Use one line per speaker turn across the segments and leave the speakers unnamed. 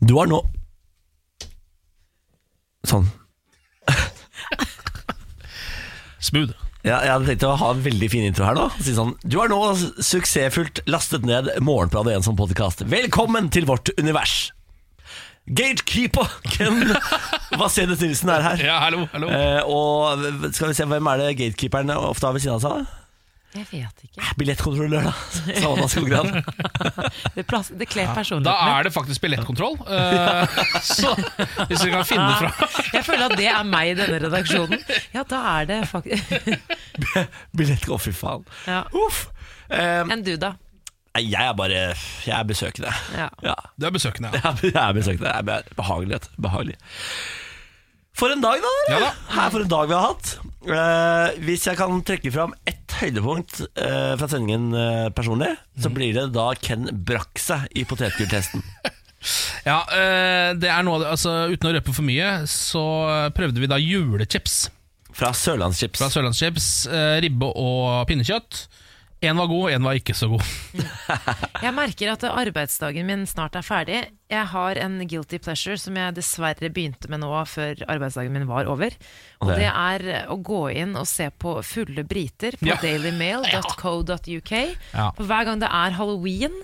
Du har nå Sånn.
Smooth.
Ja, jeg hadde tenkt å ha en veldig fin intro her nå. og Si sånn, du har nå suksessfullt lastet ned Morgenbladet 1 som podkast. Velkommen til vårt univers! Gatekeeper Ken Vasenes Nilsen er her.
Ja, hallo, hallo.
Eh, og skal vi se, hvem er det gatekeeperen ofte har ved siden av seg? da?
Jeg vet ikke.
Billettkontrollør, da. Savna Skogran.
Det, plass, det kler
Da
personligheten min.
er det faktisk billettkontroll. eh, så hvis vi kan finne fra
Ah, Jeg føler at det er meg i denne redaksjonen. Ja, da er det faktisk
Billett, å, fy faen.
ja.
Uff. Eh,
Enn du, da.
nei, jeg er bare Jeg er besøkende.
Ja.
Ja.
Du er besøkende, ja.
Jeg er besøkende. Jeg er behagelig. vet du. behagelig. For en dag, da! dere.
Ja da.
Her for en dag vi har hatt. Eh, hvis jeg kan trekke fram ett høydepunkt eh, fra sendingen eh, personlig,
Mhm.
så blir det da Ken brakk seg i potetgulltesten.
ja eh, det er noe av det, altså, uten å røpe for mye, så prøvde vi da julechips
Fra Sørlandschips.
fra Sørlandschips. eh, ribbe og pinnekjøtt. Én var god, én var ikke så god.
Jeg merker at arbeidsdagen min snart er ferdig. Jeg har en guilty pleasure som jeg dessverre begynte med nå før arbeidsdagen min var over. Og
Ok.
det er å gå inn og se på fulle briter på
Ja.
dailymail.co.uk.
Ja.
For hver gang det er halloween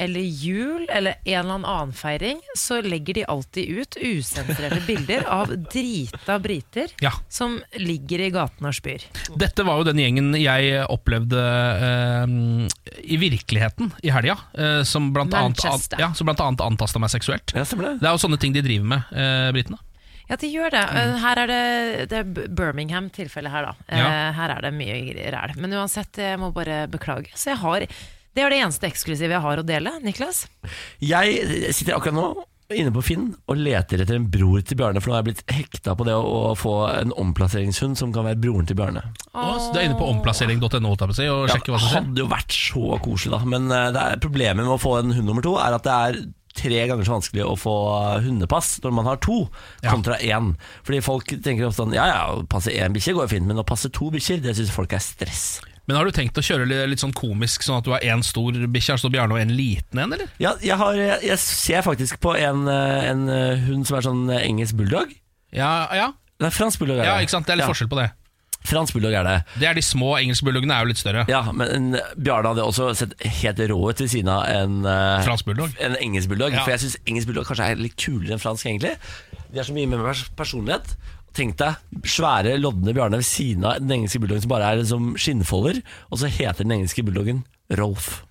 eller jul eller en eller annen feiring, så legger de alltid ut usensurerte bilder av drita briter
Ja.
som ligger i gaten og spyr.
Dette var jo den gjengen jeg opplevde eh, i virkeligheten i helga. eh, som blant annet,
Manchester.
ja, som blant annet antasta meg seksuelt.
Ja, stemmer det.
Det er jo sånne ting de driver med, eh, britene.
Ja, de
Mm.
gjør det. Eh, Her er det, det er B- Birmingham-tilfellet her, da. Eh,
Ja.
Her er det mye gr- ræl. Men uansett, jeg må bare beklage. Så jeg har Det er det eneste eksklusive jeg har å dele, Niklas.
Jeg sitter akkurat nå inne på Finn og leter etter en bror til Bjarne, for nå har jeg blitt hekta på det å, å få en omplasseringshund som kan være broren til Bjarne.
Og så Du er inne på omplassering.no holdt jeg på å si, og
Ja,
sjekker hva som skjer.
hadde jo vært så koselig, da. Men eh, det er, problemet med å få en hund nummer to er at det er tre ganger så vanskelig å få hundepass når man har to,
Ja.
kontra én. Fordi folk tenker ofte sånn Ja ja, å passe én bikkje går jo fint, men å passe to bikkjer, det syns folk er stress.
Men har du tenkt å kjøre litt, litt sånn komisk, sånn at du har én stor bikkje, altså Bjarne, og en liten en, eller?
Ja, jeg, har, eh, jeg, jeg ser faktisk på en, eh, en eh, hund som er sånn eh, engelsk bulldog.
Ja, ja,
Nei, fransk bulldog er det.
ja, ikke sant? Det er litt
Ja,
forskjell på det.
Fransk bulldog er det.
Det er de små engelske bulldogene, er jo litt større.
Ja, men eh, Bjarne hadde også sett helt rå ut ved siden av en eh,
Fransk bulldog.
en engelsk bulldog.
Ja.
For jeg syns engelsk bulldog kanskje er litt kulere enn fransk, egentlig. De er så mye mer pers personlighet. Tenk deg svære, lodne Bjarne ved siden av den engelske bulldoggen som bare er som skinnfolder, og så heter den engelske bulldoggen Rolf.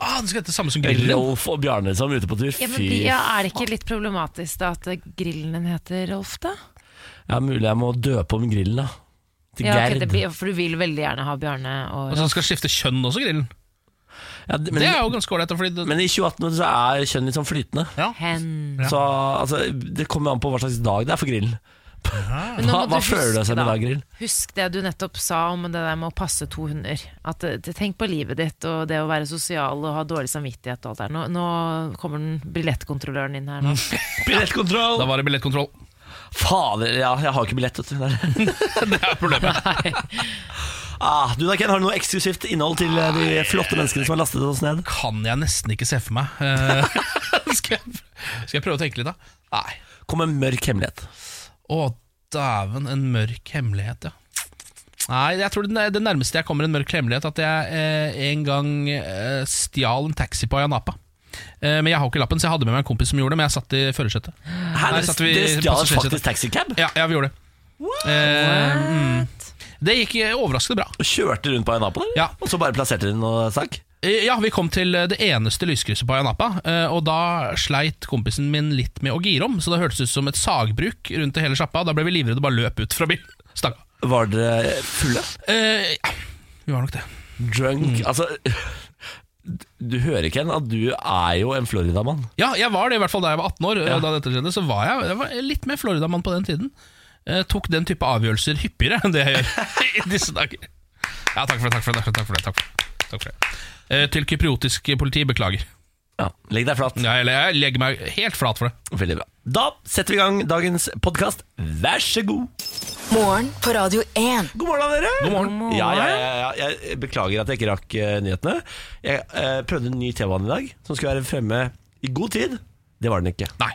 Ah, den skal hete samme som grillen.
Rolf og Bjarne som er ute på tur.
Ja, men
Fy
blir- ja, er det ikke litt problematisk da at eh, grillen din heter Rolf, da?
Ja, mulig jeg må døpe om grillen, da. Til
Ja, ok,
Gerd.
det blir, for du vil veldig gjerne ha Bjarne og
Og så skal den skifte kjønn også, grillen.
Ja, d- men,
det er jo ganske ålreit. da, fordi det-
men i 2018 så er kjønn litt sånn flytende.
Ja.
Hen.
Ja.
Så altså, det kommer an på hva slags dag det er for grillen.
Men nå
Hva, hva
må du
føler du
huske
seg med
da-
dag, grill?
Husk det du nettopp sa om det der med å passe to hunder. At, eh, tenk på livet ditt og det å være sosial og ha dårlig samvittighet og alt der. Nå, nå kommer den billettkontrolløren inn her nå.
Mm.
Da
Billettkontroll!
var det billettkontroll.
Fader, ja, jeg har ikke billett, vet du. Det er-
Det er problemet.
Ah, du da, Ken, Har du noe eksklusivt innhold til eh, de flotte menneskene som har lastet oss ned?
Kan jeg nesten ikke se for meg. Eh, skal, jeg, skal jeg prøve å tenke litt, da? Nei.
Kom med en mørk hemmelighet.
Å, dæven, en mørk hemmelighet, ja. Nei, jeg tror det, det nærmeste jeg kommer en mørk hemmelighet, at jeg eh, en gang eh, stjal en taxi på Ayanapa. Eh, men jeg har ikke lappen, så jeg hadde med meg en kompis som gjorde det, men jeg satt i førersetet.
Her,
Nei, satt vi
dere
i
stjal
passasjersetet.
faktisk taxicab
Ja, ja, vi gjorde det. Eh, mm. Det gikk eh, overraskende bra.
og kjørte rundt på en Apple,
Ja.
og så bare plasserte dere den og stakk.
Eh, Ja, vi kom til eh, det eneste lyskrysset på Ayanapa, eh, og da sleit kompisen min litt med å gire om, så det hørtes ut som et sagbruk rundt det hele sjappa. Da ble vi livredde og bare løp ut fra bilen. Stakk av.
Var dere fulle?
Eh, ja, vi var nok det. Mm.
Drunk? Altså Du hører, Ken, at du er jo en Floridamann.
Ja, jeg var det i hvert fall da jeg var 18 år.
Ja.
Da dette skjedde, så var jeg, jeg var litt mer Floridamann på den tiden. Eh, tok den type avgjørelser hyppigere enn det jeg gjør i disse dager. Ja, takk for det, takk for det. Takk for det, takk for det, takk for det. Eh, til kypriotisk politi, beklager.
Ja, Legg deg flat.
Ja, eller jeg legger meg helt flat for det.
Veldig bra. Da setter vi i gang dagens podkast. Vær så god.
Morgen på Radio 1.
God morgen, dere.
God morgen.
Ja, ja, ja, ja, jeg beklager at jeg ikke rakk eh, nyhetene. Jeg eh, prøvde en ny T-bane i dag, som skulle være fremme i god tid. Det var den ikke.
Nei.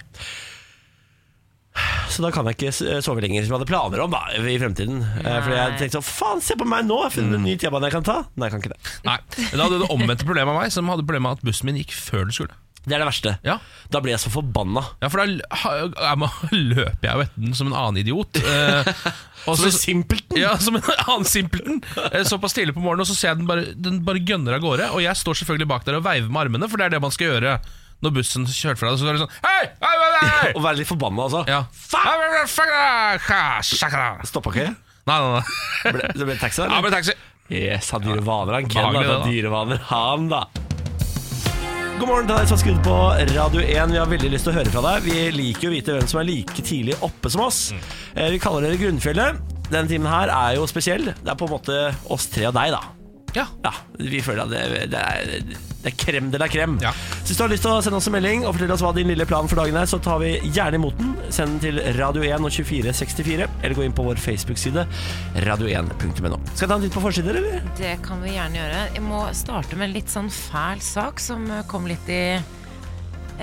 Så da kan jeg ikke s- eh, sove lenger, som jeg hadde planer om da, i fremtiden. Eh, Fordi jeg
Nei.
tenkte sånn Faen, se på meg nå! Jeg har funnet
Mm.
en ny T-bane jeg kan ta. Nei, jeg kan ikke det.
Nei. Men Da hadde du det omvendte problemet av meg, som hadde problemet med at bussen min gikk før den skulle.
Det er det verste.
Ja.
Da blir jeg så forbanna.
Ja, for da l- ha- er man- løper jeg jo etter den som en annen idiot. Eh, og
Så
så-
simpelten!
Ja, som en annen simpelten. Eh, Såpass tidlig på morgenen, og så ser jeg den bare, den bare gønner av gårde. Og jeg står selvfølgelig bak der og veiver med armene, for det er det man skal gjøre når bussen kjører fra deg. Så er det sånn Hei! Hei! Hei! hei!
Å være litt forbanna, altså.
Ja.
Faen!
Hei, hei, hei, fuck deg, ka, shakara.
Stoppa ikke?
Nei, nei, nei.
Ble, det ble taxi,
Ja,
eller?
men taxi.
Yes, han dyre vaner han
Behagelig,
Ken da, det
det,
er
da.
dyrevaner han da God morgen til deg som har skrudd på Radio 1 Vi har veldig lyst til å høre fra deg Vi liker jo å vite hvem som er like tidlig oppe som oss
Mm.
Eh, Vi kaller dere grunnfjellet Denne timen her er jo spesiell Det er på en måte oss tre og deg da
Ja.
ja, vi føler at det, det, er, det er krem de la krem.
Ja.
Så hvis du har lyst til å sende oss en melding og fortelle oss hva din lille plan for dagen er, så tar vi gjerne imot den. Send den til Radio 1 og 2464, eller gå inn på vår Facebook-side, radio1.no. Skal jeg ta en titt på forsider, eller?
Det kan vi gjerne gjøre. Jeg må starte med en litt sånn fæl sak som eh, kom litt i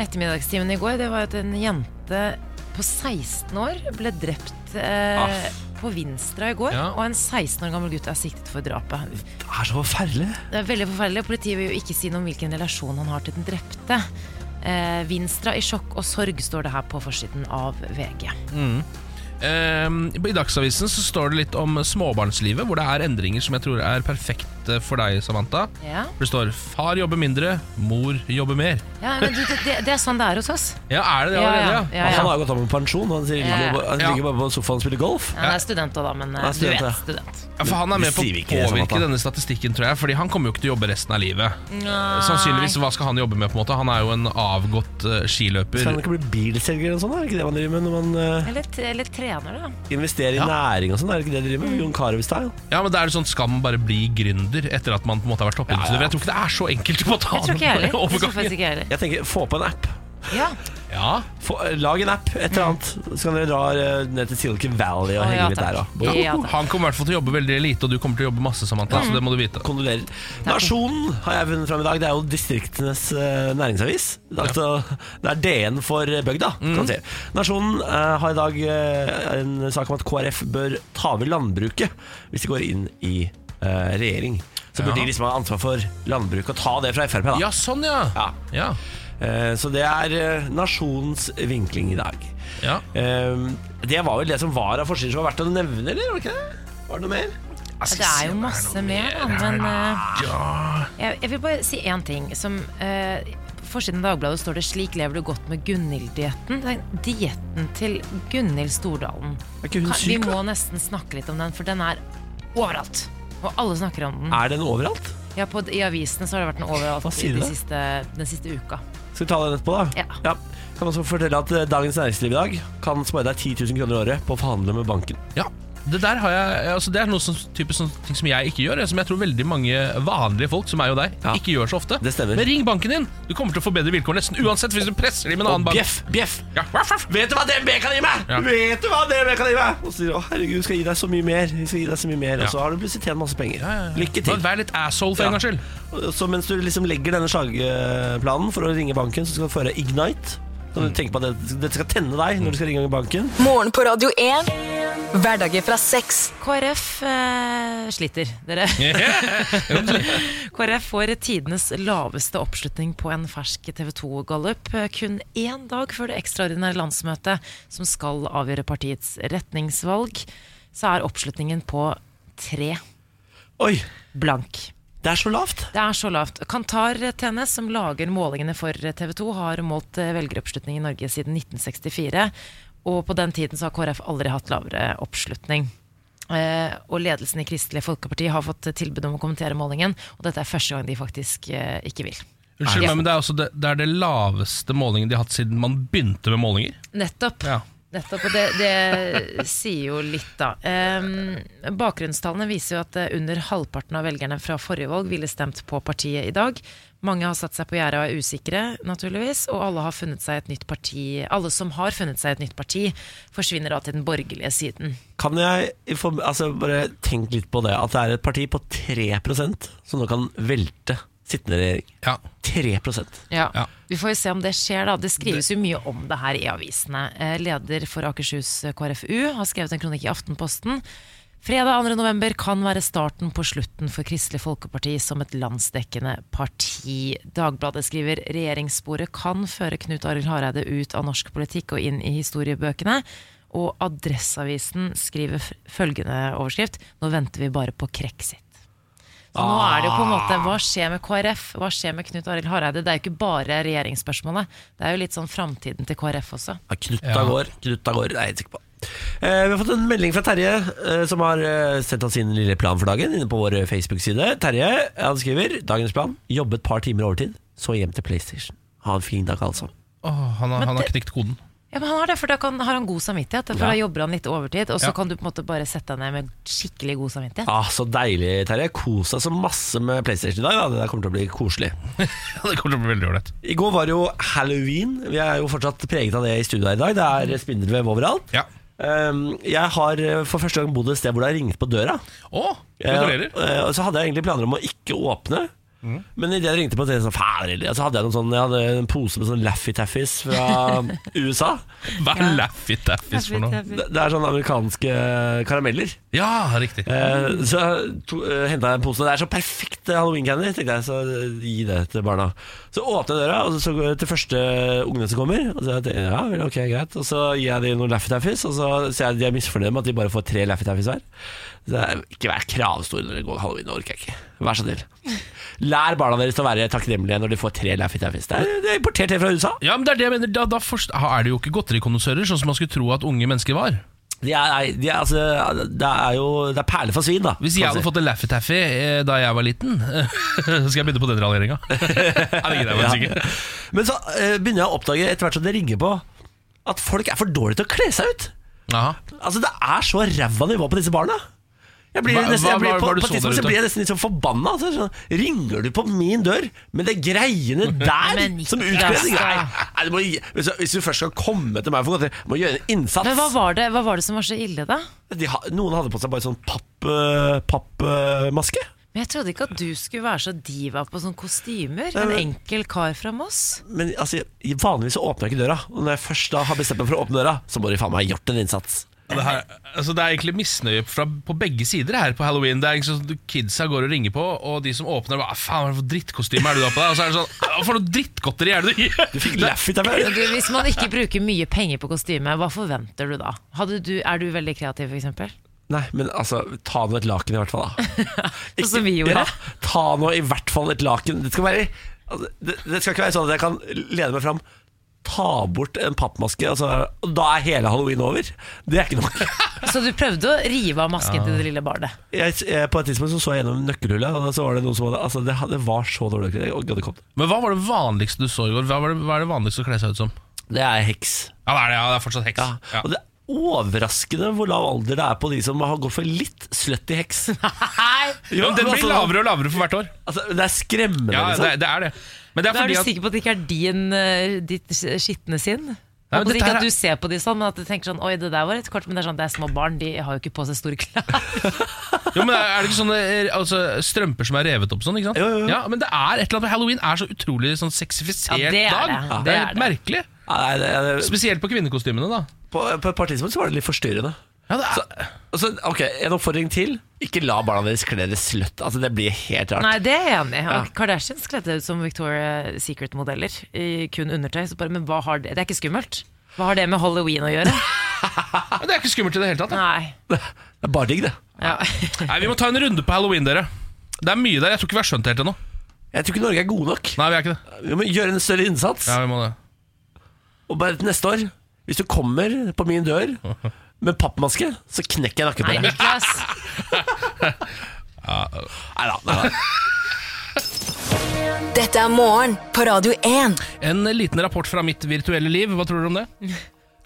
ettermiddagstimen i går. Det var at en jente på 16 år ble drept eh, på Vinstra i går.
Ja.
Og en 16 år gammel gutt er siktet for drapet.
Det er så forferdelig.
Det er veldig forferdelig. Politiet vil jo ikke si noe om hvilken relasjon han har til den drepte. Eh, Vinstra i sjokk og sorg står det her på forsiden av VG.
Ehm, I Dagsavisen så står det litt om småbarnslivet, hvor det er endringer som jeg tror er perfekte for deg, Samantha.
Ja,
For Det står 'far jobber mindre, mor jobber mer'.
ja men du, det, det, det er sånn det er hos oss.
Ja, er det det
Ja,
allerede?
ja,
Ja,
ja, ja.
Han har jo gått av med pensjon. Han, sier,
Ja, ja.
han ligger bare på sofaen og spiller golf.
Ja, han er student òg, da, men eh,
Han er student,
du
ja.
vet, student.
Ja, for han er
Vi
med på å
sier vi ikke det,
påvirke
Samantha.
denne statistikken, tror jeg. Fordi han kommer jo ikke til å jobbe resten av livet. Sannsynligvis, hva skal han jobbe med? på en måte? Han er jo en avgått eh, skiløper.
Skal han ikke bli bilselger eller noe sånt? da? Er det ikke det man driver med når man eh,
Eller, t- eller trener, da.
investerer i
Ja.
næring og sånn? Er det ikke det de driver med?
Mm.
Jon Carew-style.
Ja, men det er jo sånn, Skal man bare bli gründer etter at man på en måte har vært toppidrettsutøver? Jeg tror ikke det er så enkelt å få ta
Jeg tror ikke jeg heller. Jeg tror faktisk
overgangen.
ikke jeg heller.
Jeg tenker, få på en app.
Ja.
Ja,
Få, eh, lag en app, et eller annet. Så kan dere dra eh, ned til Silicon Valley og
Mm. Å,
henge
ja,
litt
takk.
der òg.
ja.
Ja, Mm. takk.
Han kommer i hvert fall til å jobbe veldig lite, og du kommer til å jobbe masse, Samantha. Så det må du vite.
Kondolerer. Nasjonen har jeg vunnet fram i dag. Det er jo distriktenes eh, næringsavis. Det er, altså, det er DN for eh, bygda. kan
Mhm.
man si. Nasjonen eh, har i dag eh, en sak om at KrF bør ta over landbruket hvis de går inn i eh, regjering. Så burde
Ja.
de liksom ha ansvar for landbruket og ta det fra Frp. da
Ja, sånn, ja.
Ja.
Ja.
Eh, Så det er eh, nasjonens vinkling i dag.
ja.
Eh, Det var vel det som var av forskjeller som var verdt å nevne, eller? Var det ikke det? Var det noe mer?
Det er jo masse mer, da. Men eh, jeg, jeg vil bare si én ting. Som eh, på forsiden av Dagbladet står det 'Slik lever du godt med Gunhild-dietten'. Den Dietten til Gunhild Stordalen.
Er ikke hun
Kan, vi
syk, da?
må nesten snakke litt om den, for den er overalt. Og alle snakker om den.
Er den overalt?
Ja, på, I avisene så har det vært den overalt
Hva sier
i
du
de
da?
siste, den siste uka.
Skal vi ta den etterpå, da?
Ja.
Kan også fortelle at eh, Dagens Næringsliv i dag kan spare deg 10 000 kroner i året på å forhandle med banken.
Ja, det der har jeg altså Det er noe sånn type sånn ting som jeg ikke gjør, som jeg tror veldig mange vanlige folk, som er jo deg,
Ja.
ikke gjør så ofte.
Det stemmer.
Men ring banken din! Du kommer til å få bedre vilkår nesten uansett hvis du presser dem med en
Og
annen bank.
bjeff, bjeff!
Ja, ruff, ruff.
Vet du hva DNB kan gi meg?!
Ja.
Vet du hva DNB kan gi meg?! Og så sier de å herregud, vi skal gi deg så mye mer, vi skal gi deg så mye mer.
Ja.
Og så har du plutselig tjent masse penger. Lykke
Bare
til.
Vær litt asshole for
Ja.
en gangs skyld.
Og Så mens du liksom legger denne slagplanen for å ringe banken, så skal du føre Ignite. Så
Mm.
du tenker på at det, det skal tenne deg når du skal ringe banken.
Morgen på Radio 1. Hverdager fra seks.
KrF eh, sliter, dere. KrF får tidenes laveste oppslutning på en fersk TV 2-gallup. eh, Kun én dag før det ekstraordinære landsmøtet som skal avgjøre partiets retningsvalg, så er oppslutningen på tre
Oi,
blank.
det er så lavt!
Det er så lavt. Kantar TNS, som lager målingene for TV 2, har målt eh, velgeroppslutning i Norge siden 1964. Og på den tiden så har KrF aldri hatt lavere oppslutning. Eh, og ledelsen i Kristelig Folkeparti har fått eh, tilbud om å kommentere målingen, og dette er første gang de faktisk eh, ikke vil.
Unnskyld
Ja.
meg, men det er, også det, det er det laveste målingen de har hatt siden man begynte med målinger.
Nettopp.
Ja.
Nettopp, og det, det sier jo litt, da. Ehm, bakgrunnstallene viser jo at eh, under halvparten av velgerne fra forrige valg ville stemt på partiet i dag. Mange har satt seg på gjerdet og er usikre, naturligvis. Og alle, har funnet seg et nytt parti, alle som har funnet seg et nytt parti, forsvinner da til den borgerlige siden.
Kan jeg inform- altså bare tenke litt på det At det er et parti på 3% Som nå kan velte sittende regjering.
Ja.
3
Ja.
Ja.
Vi får jo se om det skjer, da. Det skrives jo mye om det her i avisene. Eh, Leder for Akershus eh, KrFU har skrevet en kronikk i Aftenposten. Fredag 2. november kan være starten på slutten for Kristelig Folkeparti som et landsdekkende parti. Dagbladet skriver regjeringssporet kan føre Knut Arild Hareide ut av norsk politikk og inn i historiebøkene. Og Adresseavisen skriver f- følgende overskrift Nå venter vi bare på Krexit. Så nå er det jo på en måte Hva skjer med KrF? Hva skjer med Knut Arild Hareide? Det er jo ikke bare regjeringsspørsmålet. Det er jo litt sånn framtiden til KrF også.
Ja, Knutta går, knutta går, det er jeg helt sikker på. Eh, vi har fått en melding fra Terje, eh, som har eh, sendt oss sin lille plan for dagen inne på vår eh, Facebook-side. Terje han skriver dagens plan. Jobbe et par timer overtid, så hjem til PlayStation. Ha en fin dag, altså.
Åh, han, har, han har
det-
knekt koden.
Ja, men han har det, for Da kan, har han god samvittighet. For
Ja.
Da jobber han litt overtid, og så
Ja.
kan du på en måte bare sette deg ned med skikkelig god samvittighet.
Ah, så deilig, Terje. Kos deg så masse med PlayStation i dag. Da. Det der kommer til å bli koselig.
det kommer til å bli veldig ålreit.
I går var det jo halloween. Vi er jo fortsatt preget av det i studio her i dag. Det er spindelvev overalt.
Mm. Ja.
Um, jeg har eh, for første gang bodd et sted hvor det har ringt på døra.
Å, gratulerer. Mm.
Eh, eh, og så hadde jeg egentlig planer om å ikke åpne. Men idet jeg ringte på, tenkte jeg sånn Fader heller. Så hadde jeg, noen sånn, jeg hadde en pose med sånn Laffy Taffys fra USA.
Hva er Laffy Taffys for noe?
Det, det er sånne amerikanske karameller.
Ja, riktig.
Eh, så uh, henta jeg en pose. Det er så perfekt eh, halloween-candy, tenkte jeg. Så eh, gi det til barna. Så åpner jeg døra og så går jeg til første ungene som kommer. Og så, tenker jeg, ja, vel, ok, greit Og så gir jeg dem noen Laffy Taffys, og så ser jeg at de er misfornøyd med at de bare får tre Laffy Taffys hver. Så jeg, ikke vær kravstor når det går halloween, det orker jeg ikke. Vær så snill. Lær barna deres å være takknemlige når de får tre Laffy Taffys. Det er, det er importert helt fra USA.
Ja, men det er det jeg mener. Da, da forst- Ah, er det jo ikke godterikondosører, sånn som man skulle tro at unge mennesker var.
De er, nei, de er, altså, det er jo Det er perler for svin, da.
Hvis jeg
kan man
hadde
si.
fått en Laffy Taffy eh, da jeg var liten, så skal jeg begynne på den regjeringa.
Ja. Men så eh, begynner jeg å oppdage etter hvert som det ringer på, at folk er for dårlige til å kle seg ut. Altså Det er så ræva nivå på disse barna. Jeg blir
Hva-
nesten, jeg
hva-
blir
hva
på,
var det
på
du så
et tidspunkt
der
så
ute?
blir jeg nesten litt sånn forbanna. Altså, sånn, ringer du på min dør med det greiene der
Men ikke,
som utkledning?
altså.
Nei, nei, du må, gi- hvis, du- hvis du først skal komme til meg for godteri, må du gjøre en innsats.
Men hva var, det, hva var det som var så ille, da?
De, ha- noen hadde på seg bare sånn pappmaske. Papp, eh, maske.
Men Jeg trodde ikke at du skulle være så diva på sånne kostymer. En
men-
enkel kar fra Moss.
Men altså, jeg- vanligvis så åpner jeg ikke døra. Og når jeg først da har bestemt meg for å åpne døra, så må de faen meg ha gjort en innsats.
Det, her, altså det er egentlig misnøye fra, på begge sider her på halloween. Det er liksom sånn at Kidsa går og ringer på, og de som åpner, bare "Ah, Faen, hva for drittkostyme er det du har på deg? Og så er det sånn «Hva For noe drittgodteri er det du gir?
Du fikk laffy til meg.
Du, hvis man ikke bruker mye penger på kostyme, hva forventer du da? Hadde du, er du veldig kreativ, f.eks.?
Nei, men altså, ta nå et laken i hvert fall, da. Ikke-
som vi gjorde.
Ja, ta nå i hvert fall et laken. Det skal, være, altså, det, det skal ikke være sånn at jeg kan lede meg fram. Ta bort en pappmaske, altså, og da er hele halloween over. Det er ikke nok.
Så du prøvde å rive av masken til det lille barnet?
Jeg, jeg, på et tidspunkt så, så jeg gjennom nøkkelhullet, og så var det noen som hadde Altså, det, det var så dårlig. Jeg gadd ikke opp det.
Men hva var det vanligste du så i går? Hva, var det, hva er det vanligste å kle seg ut som?
Det er heks.
Ja, det er, det, ja, det er fortsatt heks.
Ja.
Ja.
Og det er overraskende hvor lav alder det er på de som har gått for litt slutty heks. Jo,
Ja, men den
altså,
blir lavere og lavere for hvert år.
Altså, det er skremmende,
Ja,
liksom.
det, det er det. Men det er
Da er
fordi
du
at
sikker på at det ikke er din, eh, ditt skitne sinn?
Nei, men
Håper
dette
ikke
her
at
er-
du ser på de sånn, men at du tenker sånn Oi, det der var litt kort, men det er sånn, det er små barn, de har jo ikke på seg store klær.
Jo, men Er det ikke sånne eh, altså, strømper som er revet opp sånn? ikke sant?
Jo, jo, jo.
Ja, men det er et eller annet med Halloween er så utrolig sånn sexifisert
Ja, det er
dag.
det. Ja.
Det er
Det er
litt
det.
merkelig.
Ja, nei, det, det,
Spesielt på kvinnekostymene, da.
På, på et par tidspunkt så var det litt forstyrrende.
Ja, det er,
Altså, ok, En oppfordring til. Ikke la barna deres kle dere sløtt. Altså, det blir helt rart.
Nei, det er jeg enig i. Og Kardashians kledde ut som Victoria Secret-modeller i kun undertøy. Så bare, men hva har det Det er ikke skummelt. Hva har det med halloween å gjøre?
ja, det er ikke skummelt i det hele tatt. da.
Nei.
Det er bare digg, det.
Ja.
Nei, Vi må ta en runde på halloween, dere. Det er mye der. Jeg tror ikke vi har skjønt det helt ennå.
Jeg tror ikke Norge er gode nok.
Nei, vi er ikke det.
Vi må gjøre en større innsats.
Ja, vi må det.
Og bare til neste år, hvis du kommer på min dør med pappmaske, så knekker jeg nakken
Nei,
på deg.
Niklas.
Nei da. nei da.
Dette er morgen på Radio 1.
En liten rapport fra mitt virtuelle liv. Hva tror dere om det?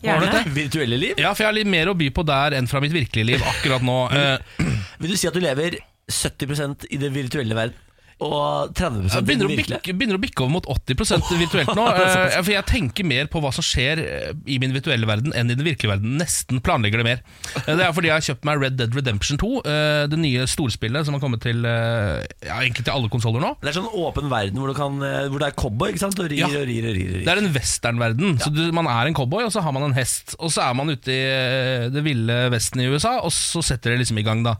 Var
Gjerne.
det
Virtuelle liv?
Ja, for Jeg har litt mer å by på der enn fra mitt virkelige liv akkurat nå. Eh,
Vil du si at du lever 70 i det virtuelle verden? og 30
Jeg Begynner å,
virkelig.
bikke, begynner å bikke over mot 80 virtuelt nå. eh, For jeg tenker mer på hva som skjer eh, i min virtuelle verden enn i den virkelige verden. Nesten planlegger det mer. Eh, Det er fordi jeg har kjøpt meg Red Dead Redemption 2, eh, det nye storspillet som har kommet til eh, ja, egentlig til alle konsoller nå.
Det er sånn åpen verden hvor, du kan, eh, hvor det er cowboy, ikke sant? Og rir
Ja.
og rir og rir. Og rir.
Det er en westernverden. Så du, man er en cowboy, og så har man en hest. Og så er man ute i eh, det ville vesten i USA, og så setter det liksom i gang, da.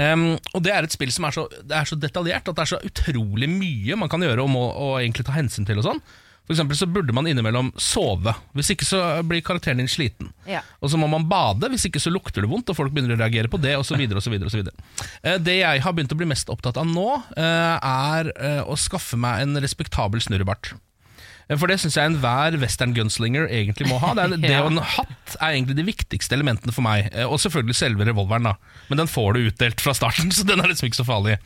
Ehm, og det er et spill som er så, det er så detaljert at det er så utrolig mye man kan gjøre og må og egentlig ta hensyn til og sånn. For eksempel så burde man innimellom sove. Hvis ikke så blir karakteren din sliten.
Ja.
Og så må man bade, hvis ikke så lukter det vondt, og folk begynner å reagere på det, osv. Eh, Det jeg har begynt å bli mest opptatt av nå, eh, er eh, å skaffe meg en respektabel snurrebart. Eh, For det syns jeg enhver western gunslinger egentlig må ha. Det, er, det
Ja.
og en hatt er egentlig de viktigste elementene for meg. Eh, Og selvfølgelig selve revolveren, da. Men den får du utdelt fra starten, så den er liksom ikke så farlig.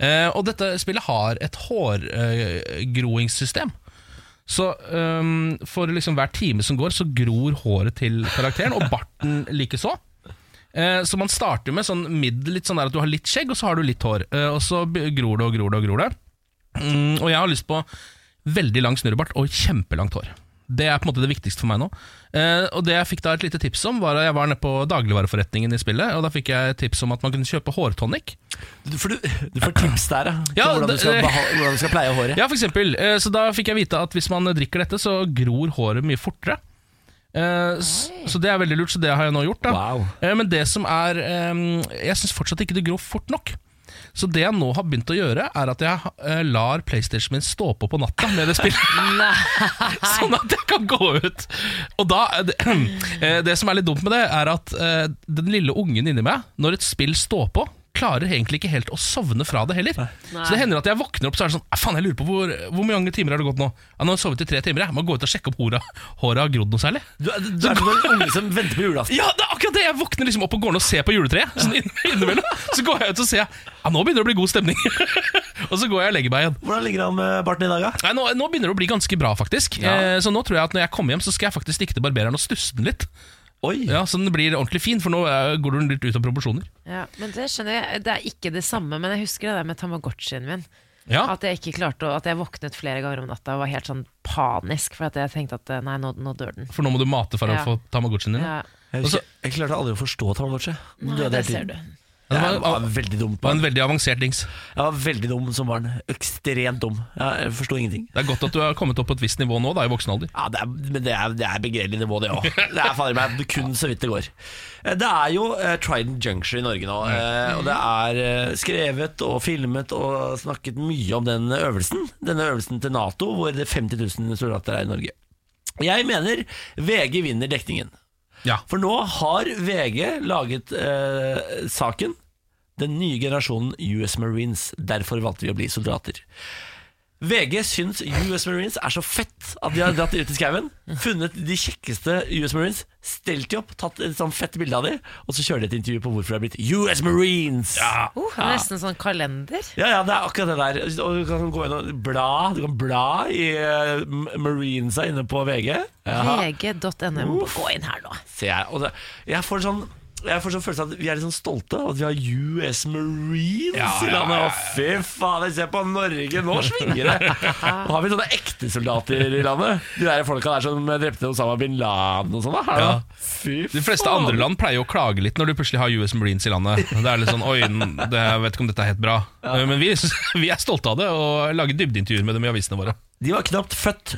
Eh, Og dette spillet har et hårgroingssystem. Så øhm, for liksom hver time som går, så gror håret til karakteren, og barten likeså. Eh, Så man starter med sånn middel, litt sånn der at du har litt skjegg, og så har du litt hår. Eh, Og så be- gror det og gror det og gror det. Mm, Og jeg har lyst på veldig lang snurrebart og kjempelangt hår. Det er på en måte det viktigste for meg nå. Eh, og Det jeg fikk da et lite tips om, var at jeg var nede på dagligvareforretningen i spillet, og da fikk jeg tips om at man kunne kjøpe hårtonic.
Du, for du, du får tips der, ja. til
Ja,
hvordan, du
det-
skal beha- hvordan du skal pleie håret.
Ja, for eksempel. Eh, Så da fikk jeg vite at hvis man drikker dette, så gror håret mye fortere. Eh, s- Så det er veldig lurt, så det har jeg nå gjort. da
Wow.
Eh, Men det som er eh, Jeg syns fortsatt ikke det gror fort nok. Så det jeg nå har begynt å gjøre, er at jeg eh, lar PlayStation min stå på på natta med det spillet. sånn at jeg kan gå ut. Og da er det, eh, det som er litt dumt med det, er at eh, den lille ungen inni meg, når et spill står på, klarer egentlig ikke helt å sovne fra det heller. Så det hender at jeg våkner opp så er det sånn «Ah, Faen, jeg lurer på hvor, hvor mange timer har det gått nå? Ja, nå har jeg sovet i tre timer, jeg. Må gå ut og sjekke opp hora. Håret har grodd noe særlig.
Du, er- du er som en unge som venter på julaften.
Ja, det er akkurat det! Jeg våkner liksom opp og går ned og ser på juletreet. Sånn inn- innimellom. Så går jeg ut og ser. Ja, nå begynner det å bli god stemning. og så går jeg og legger meg igjen.
Hvordan ligger han med barten i dag, da?
Nei, nå, nå begynner det å bli ganske bra, faktisk. Eh, så nå tror jeg at når jeg kommer hjem, så skal jeg faktisk stikke til barbereren og stusse den litt.
Oi.
Ja, Så den blir ordentlig fin, for nå eh, går den litt ut av proporsjoner.
Ja, men det skjønner jeg. Det er ikke det samme, men jeg husker det der med Tamagotchien min.
Ja.
At jeg ikke klarte å, at jeg våknet flere ganger om natta og var helt sånn panisk, for at jeg tenkte at eh, nei, nå, nå dør den.
For nå må du mate for
Ja.
å få Tamagotchien din. Ja.
Ja.
Jeg,
Og så-
husker, jeg klarte aldri å forstå Tamagotchi. Den
Nei,
døde hele
det ser
tiden.
du.
Det var,
Jeg var
var,
veldig dumt
var
barn.
en veldig avansert dings.
Jeg var veldig dum som barn. Ekstremt dum. Jeg forsto ingenting.
Det er godt at du har kommet opp på et visst nivå nå, da, i voksen alder.
Ja, det er, men det er, det er begredelig nivå, det òg. Det er fader meg kun så vidt det går. Eh, Det er jo eh, Trident Juncture i Norge nå, eh, og det er eh, skrevet og filmet og snakket mye om den øvelsen. Denne øvelsen til Nato, hvor det er 50 000 soldater er i Norge. Jeg mener VG vinner dekningen.
Ja.
For nå har VG laget eh, saken Den nye generasjonen US Marines Derfor valgte vi å bli soldater VG syns US Marines er så fett At de har dratt ut i skauen Funnet de kjekkeste US Marines Stelt de opp, tatt et sånn fett bilde av de Og så kjører de et intervju på hvorfor det er blitt US Marines Ja
Uh, det er Nesten sånn kalender.
ja, ja, det er akkurat det der Og du kan gå inn og bla Du kan bla i eh, Marinesa inne på VG Ja.
VG.no. Gå inn her nå.
ser jeg. Og det, jeg får sånn jeg får sånn følelse av at vi er litt sånn stolte av at vi har US Marines
Ja, ja,
i landet.
ja, ja.
Og fy fader, se på Norge, nå svinger det! Nå har vi sånne ekte soldater i landet. De der folka der som drepte Osama bin Laden og sånn. da. Her, da.
Ja.
Fy
De fleste
faen.
andre land pleier jo å klage litt når du plutselig har US Marines i landet. Det er litt sånn, oi, n- det, jeg vet ikke om dette er helt bra. Eh, Men vi, vi er stolte av det, og lager dybdeintervjuer med dem i avisene våre.
De var knapt født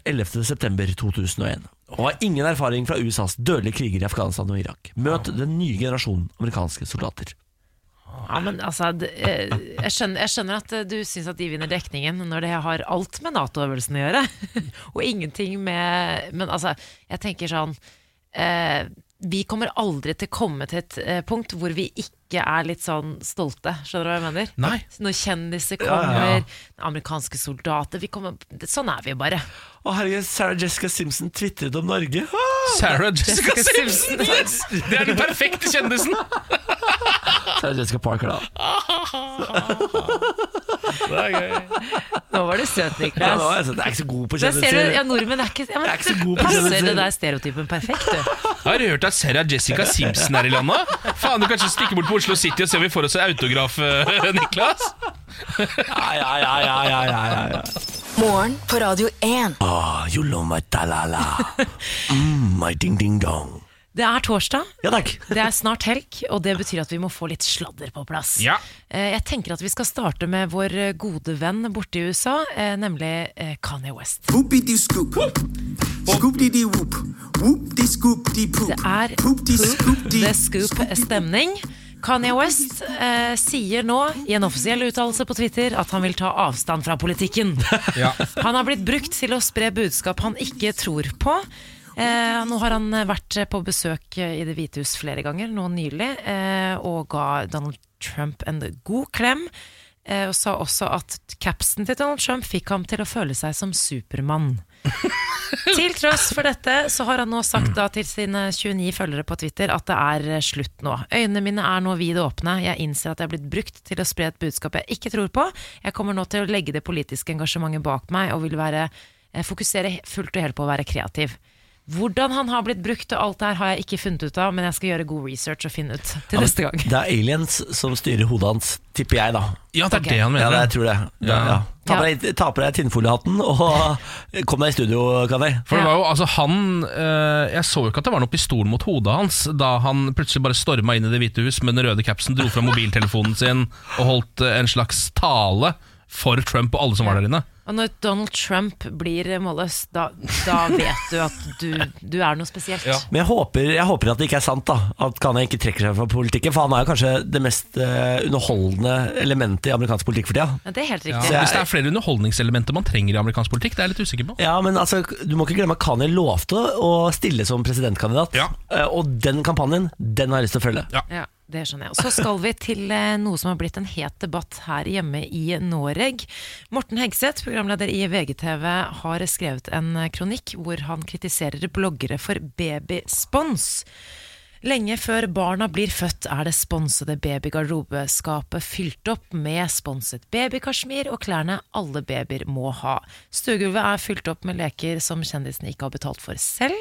11.9.2001 og har ingen erfaring fra USAs dødelige kriger i Afghanistan og Irak. Møt den nye generasjonen amerikanske soldater.
Ja, men altså, d- eh, jeg skjønner, jeg skjønner at eh, du syns at de vinner dekningen når det har alt med Nato-øvelsen å gjøre. Og ingenting med Men altså, jeg tenker sånn eh, Vi kommer aldri til å komme til et eh, punkt hvor vi ikke er litt sånn stolte. Skjønner du hva jeg mener?
Nei.
Når kjendiser
ja,
kommer, amerikanske soldater vi kommer, Sånn er vi bare.
Å herregud, Sarah Jessica Simpson tvitret om Norge.
Sarah Jessica
Jessica
Simpson!
Simpson.
Yes! Det er den perfekte kjendisen!
Sarah Jessica Parker, da.
Nå var du
Ja,
søt,
nå,
Niklas.
altså, det er ikke så god på
Der ser du,
kjendiser.
ja, nordmenn er ikke, ja, men,
Jeg er ikke så god på
Passer
kjendiser.
det der stereotypen perfekt, du?
Har du hørt at Sarah Jessica Simpson er i landet? Faen, du kan ikke stikke bort på Oslo City og se om vi får oss en autograf, eh, Niklas?
Ai, ai, ai, ai, ai, ai, ai.
Morgen på Radio 1.
Ah, you love my talala. Mm, my ding ding dong.
Det er torsdag,
Ja takk.
det er snart helg, og det betyr at vi må få litt sladder på plass.
Ja.
Eh, Jeg tenker at vi skal starte med vår eh, gode venn borte i USA, eh, nemlig eh, Kanye West.
Whoopity scoop. Scoop dee dee whoop. Whoop dee scoop dee poop.
Det er
poop dee scoop
Poop
dee
the Scoop-stemning. Kanye West eh, sier nå i en offisiell uttalelse på Twitter at han vil ta avstand fra politikken.
Ja.
Han har blitt brukt til å spre budskap han ikke tror på. Eh, nå har han eh, vært eh, på besøk eh, i Det hvite hus flere ganger, nå nylig, eh, og ga Donald Trump en god klem. Eh, og sa også at capsen til Donald Trump fikk ham til å føle seg som Supermann. Til tross for dette så har han nå sagt da til sine 29 følgere på Twitter at det er eh, slutt nå. Øynene mine er nå vid åpne. Jeg innser at jeg er blitt brukt til å spre et budskap jeg ikke tror på. Jeg kommer nå til å legge det politiske engasjementet bak meg og vil være, eh, fokusere he- fullt og helt på å være kreativ. Hvordan han har blitt brukt og alt det her har jeg ikke funnet ut av, men jeg skal gjøre god research og finne ut til neste gang.
Det er aliens som styrer hodet hans, tipper jeg da.
ja, det er
Ok.
det han
Ja,
mener.
det, jeg tror det. det
Ja.
ja. Ta på deg, ta på deg tinnfoliehatten og kom deg i studio, Kani.
For det
Ja.
var jo, altså han eh, Jeg så jo ikke at det var noe pistol mot hodet hans da han plutselig bare storma inn i Det hvite hus med den røde capsen, dro fra mobiltelefonen sin og holdt eh, en slags tale for Trump og alle som var der inne.
Og når Donald Trump blir eh, målløs, da, da vet du at du, du er noe spesielt.
Ja.
Men jeg håper, jeg håper at det ikke er sant, da. At Kani ikke trekker seg fra politikken. For han er jo kanskje det mest eh, underholdende elementet i amerikansk politikk for tida.
Men Det er helt
Ja.
riktig.
Hvis det er flere underholdningselementer man trenger i amerikansk politikk, det er jeg litt usikker på.
Ja, men altså, Du må ikke glemme at Kani lovte å stille som presidentkandidat.
Ja.
Eh, Og den kampanjen den har jeg lyst til å følge.
Ja, det skjønner jeg. Og så skal vi til eh, noe som har blitt en het debatt her hjemme i Noreg. Morten Hegseth, programleder i VGTV, har skrevet en eh, kronikk hvor han kritiserer bloggere for babyspons. Lenge før barna blir født er det sponsede babygarderobeskapet fylt opp med sponset babykasjmir og klærne alle babyer må ha. Stuegulvet er fylt opp med leker som kjendisene ikke har betalt for selv.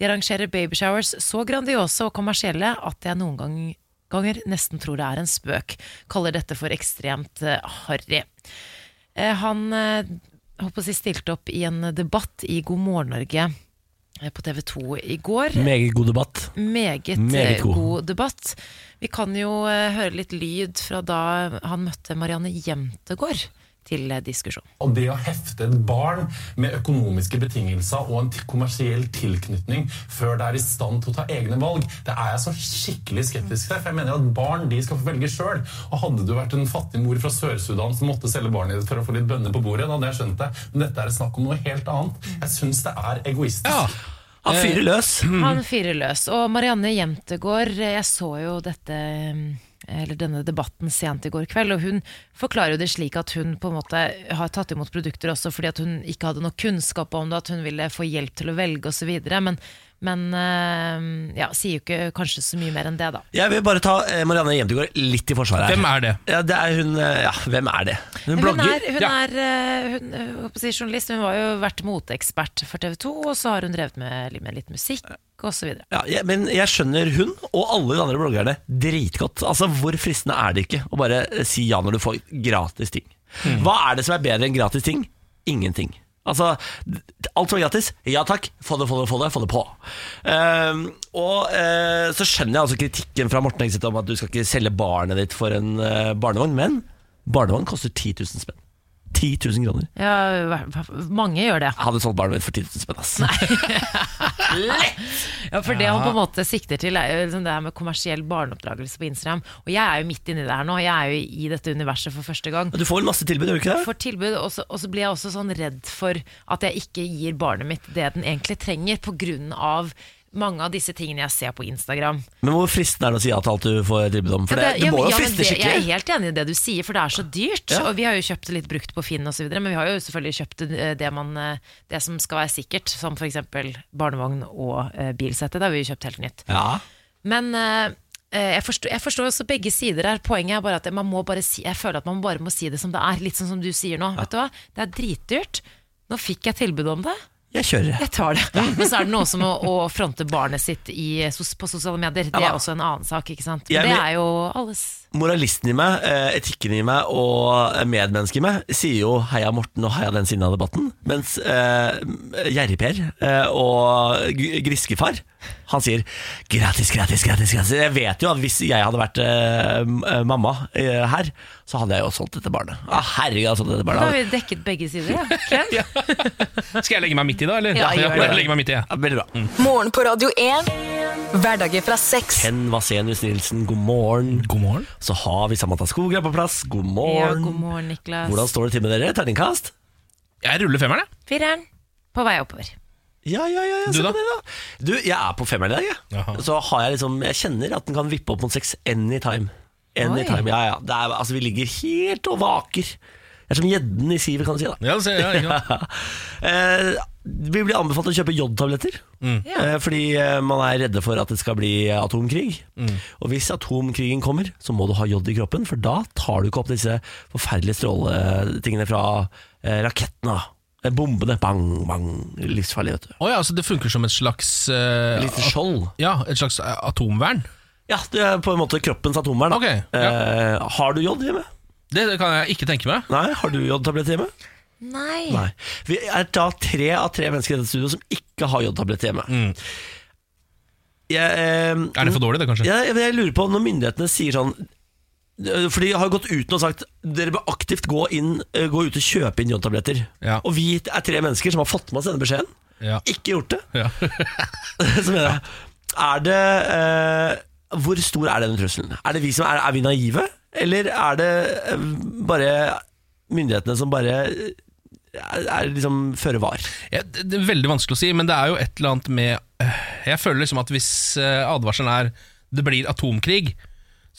De arrangerer babyshowers så grandiose og kommersielle at jeg noen gang, ganger nesten tror det er en spøk. Kaller dette for ekstremt eh, harry. Eh, Han eh, holdt på å si stilte opp i en debatt i God morgen Norge eh, på TV 2 i går
Meget god debatt.
meget,
Meget
eh,
god.
god. debatt. Vi kan jo eh, høre litt lyd fra da han møtte Marianne Jemtegård til eh, diskusjon.
Og det å hefte et barn med økonomiske betingelser og en t- kommersiell tilknytning før det er i stand til å ta egne valg, det er jeg så skikkelig skeptisk til. For jeg mener at barn de skal få velge sjøl. Og hadde du vært en fattig mor fra Sør-Sudan som måtte selge barnet ditt for å få litt bønner på bordet, da hadde jeg skjønt det. Men dette er snakk om noe helt annet. Jeg syns det er egoistisk.
Ja.
Han
Eh.
fyrer løs.
Mm.
Han fyrer løs. Og Marianne Jemtegård, eh, jeg så jo dette eh, eller denne debatten sent i går kveld, og hun forklarer jo det slik at hun på en måte har tatt imot produkter også fordi at hun ikke hadde noe kunnskap om det, at hun ville få hjelp til å velge osv. Men, men eh, ja, sier jo ikke kanskje så mye mer enn det, da.
Jeg vil bare ta eh, Marianne Jevndegård litt i forsvaret. her.
Hvem er det?
Ja, det er hun eh, Ja, hvem er det? Hun
Hun
blogger.
er, hun
Ja.
er eh, hun, eh, holdt på å si journalist, hun har jo vært moteekspert for TV 2, og så har hun drevet med, med litt musikk osv.
Ja, jeg, men jeg skjønner hun og alle de andre bloggerne dritgodt. Altså, Hvor fristende er det ikke å bare eh, si ja når du får gratis ting? Hva er det som er bedre enn gratis ting? Ingenting. Altså, d- alt som er gratis, ja takk, få det, få det, få det, få det på. Ehm, og eh, så skjønner jeg altså kritikken fra Morten Hegseth om at du skal ikke selge barnet ditt for en eh, barnevogn, men barnevogn koster 10 000 spenn. 10 000 kroner.
Ja, hva- hva- mange gjør det.
Jeg hadde solgt barnet mitt for 10 000 spenn, ass.
Ja, for det han på en måte sikter til, er jo liksom det her med kommersiell barneoppdragelse på Instagram. Og jeg er jo midt inni det her nå, jeg er jo i dette universet for første gang.
Du får en masse tilbud, gjør du ikke det?
For tilbud, og så, og så blir jeg også sånn redd for at jeg ikke gir barnet mitt det den egentlig trenger, pga. mange av disse tingene jeg ser på Instagram.
Men hvor fristende er det å si ja til alt du får tilbud om? For det,
Ja, det-
du
ja,
må
men-
jo
ja, men
friste
det- Jeg er
skikkelig.
helt enig i det du sier, for det er så dyrt.
Ja.
Og vi har jo kjøpt det litt brukt på Finn osv., men vi har jo selvfølgelig kjøpt eh, det, man, eh, det som skal være sikkert, som f.eks. barnevogn og eh, bilsette. Det har vi jo kjøpt helt nytt.
Ja.
Men eh, eh, jeg forstår, jeg forstår også begge sider her. Poenget er bare at man må bare si, jeg føler at man bare må si det som det er. Litt sånn som du sier nå. Vet du hva? Det er dritdyrt. Nå fikk jeg tilbud om det.
Jeg kjører.
Jeg tar det. Men så er det noe som å, å fronte barnet sitt i, sos- på sosiale medier. Det
Ja.
er også en annen sak, ikke sant.
Jeg
Men det
vil-
er jo alles.
Moralisten i meg, eh, etikken i meg og medmennesket i meg sier jo heia Morten og heia den siden av debatten. Mens eh, Gjerrig-Per eh, og G- Griskefar, han sier gratis, gratis, gratis. gratis. Jeg vet jo at hvis jeg hadde vært eh, m- eh, mamma eh, her, så hadde jeg jo solgt dette barnet. Ah, herregud, jeg hadde solgt dette
Da har
barnet.
vi dekket begge sider, ja. Ken?
Skal jeg legge meg midt i, da? eller?
Ja, gjør det.
jeg legger meg midt i, jeg.
Ja, veldig bra.
Morgen på Radio 1. Hverdager fra seks.
Ken Vasenius Nilsen, god morgen.
God morgen.
Så har vi Samantha Skogre på plass. God
ja.
morgen.
God morgen, Niklas.
Hvordan står det til med dere? Terningkast?
Jeg ruller femmeren, jeg.
Fireren på vei oppover.
Ja, ja, ja, ja
Du
se
da?
på det da Du, jeg er på femmeren i dag,
Jaha.
jeg. Så har jeg liksom Jeg kjenner at den kan vippe opp mot seks anytime. Anytime, ja, ja det er, Altså, vi ligger helt og vaker. Jeg er som gjedden i sivet, kan du si. da
Ja, det ser jeg, ikke sant?
Eh, vi blir anbefalt å kjøpe jodtabletter. Eh, fordi eh, man er redde for at det skal bli atomkrig. Og hvis atomkrigen kommer, så må du ha jod i kroppen, for da tar du ikke opp disse forferdelige stråletingene fra eh, rakettene. da. Eh, Bombene. Bang, bang. Livsfarlig, vet du.
Å ja, så det funker som et slags eh,
Lite skjold.
Ja, et slags eh, atomvern.
Ja, det er på en måte kroppens atomvern. da.
Ok, ja.
eh, har du jod hjemme?
Det kan jeg ikke tenke meg.
Nei, har du jodtabletter hjemme?
Nei.
Nei. Vi er da tre av tre mennesker i dette studioet som ikke har jodtablett hjemme. Jeg, eh,
Mm. Er det for dårlig, det, kanskje?
jeg, jeg lurer på når myndighetene sier sånn eh, for de har jo gått uten og sagt Dere bør aktivt gå, inn, eh, gå ut og kjøpe inn jodtabletter.
Ja.
Og vi er tre mennesker som har fått med oss denne beskjeden.
Ja.
Ikke gjort det.
ja.
Så mener jeg Er det eh, Hvor stor er denne trusselen? Er, det vi som er, er vi naive? Eller er det eh, bare myndighetene som bare eh, er, er liksom føre var?
Ja, det det er veldig vanskelig å si, men det er jo et eller annet med øh, Jeg føler liksom at hvis øh, advarselen er det blir atomkrig,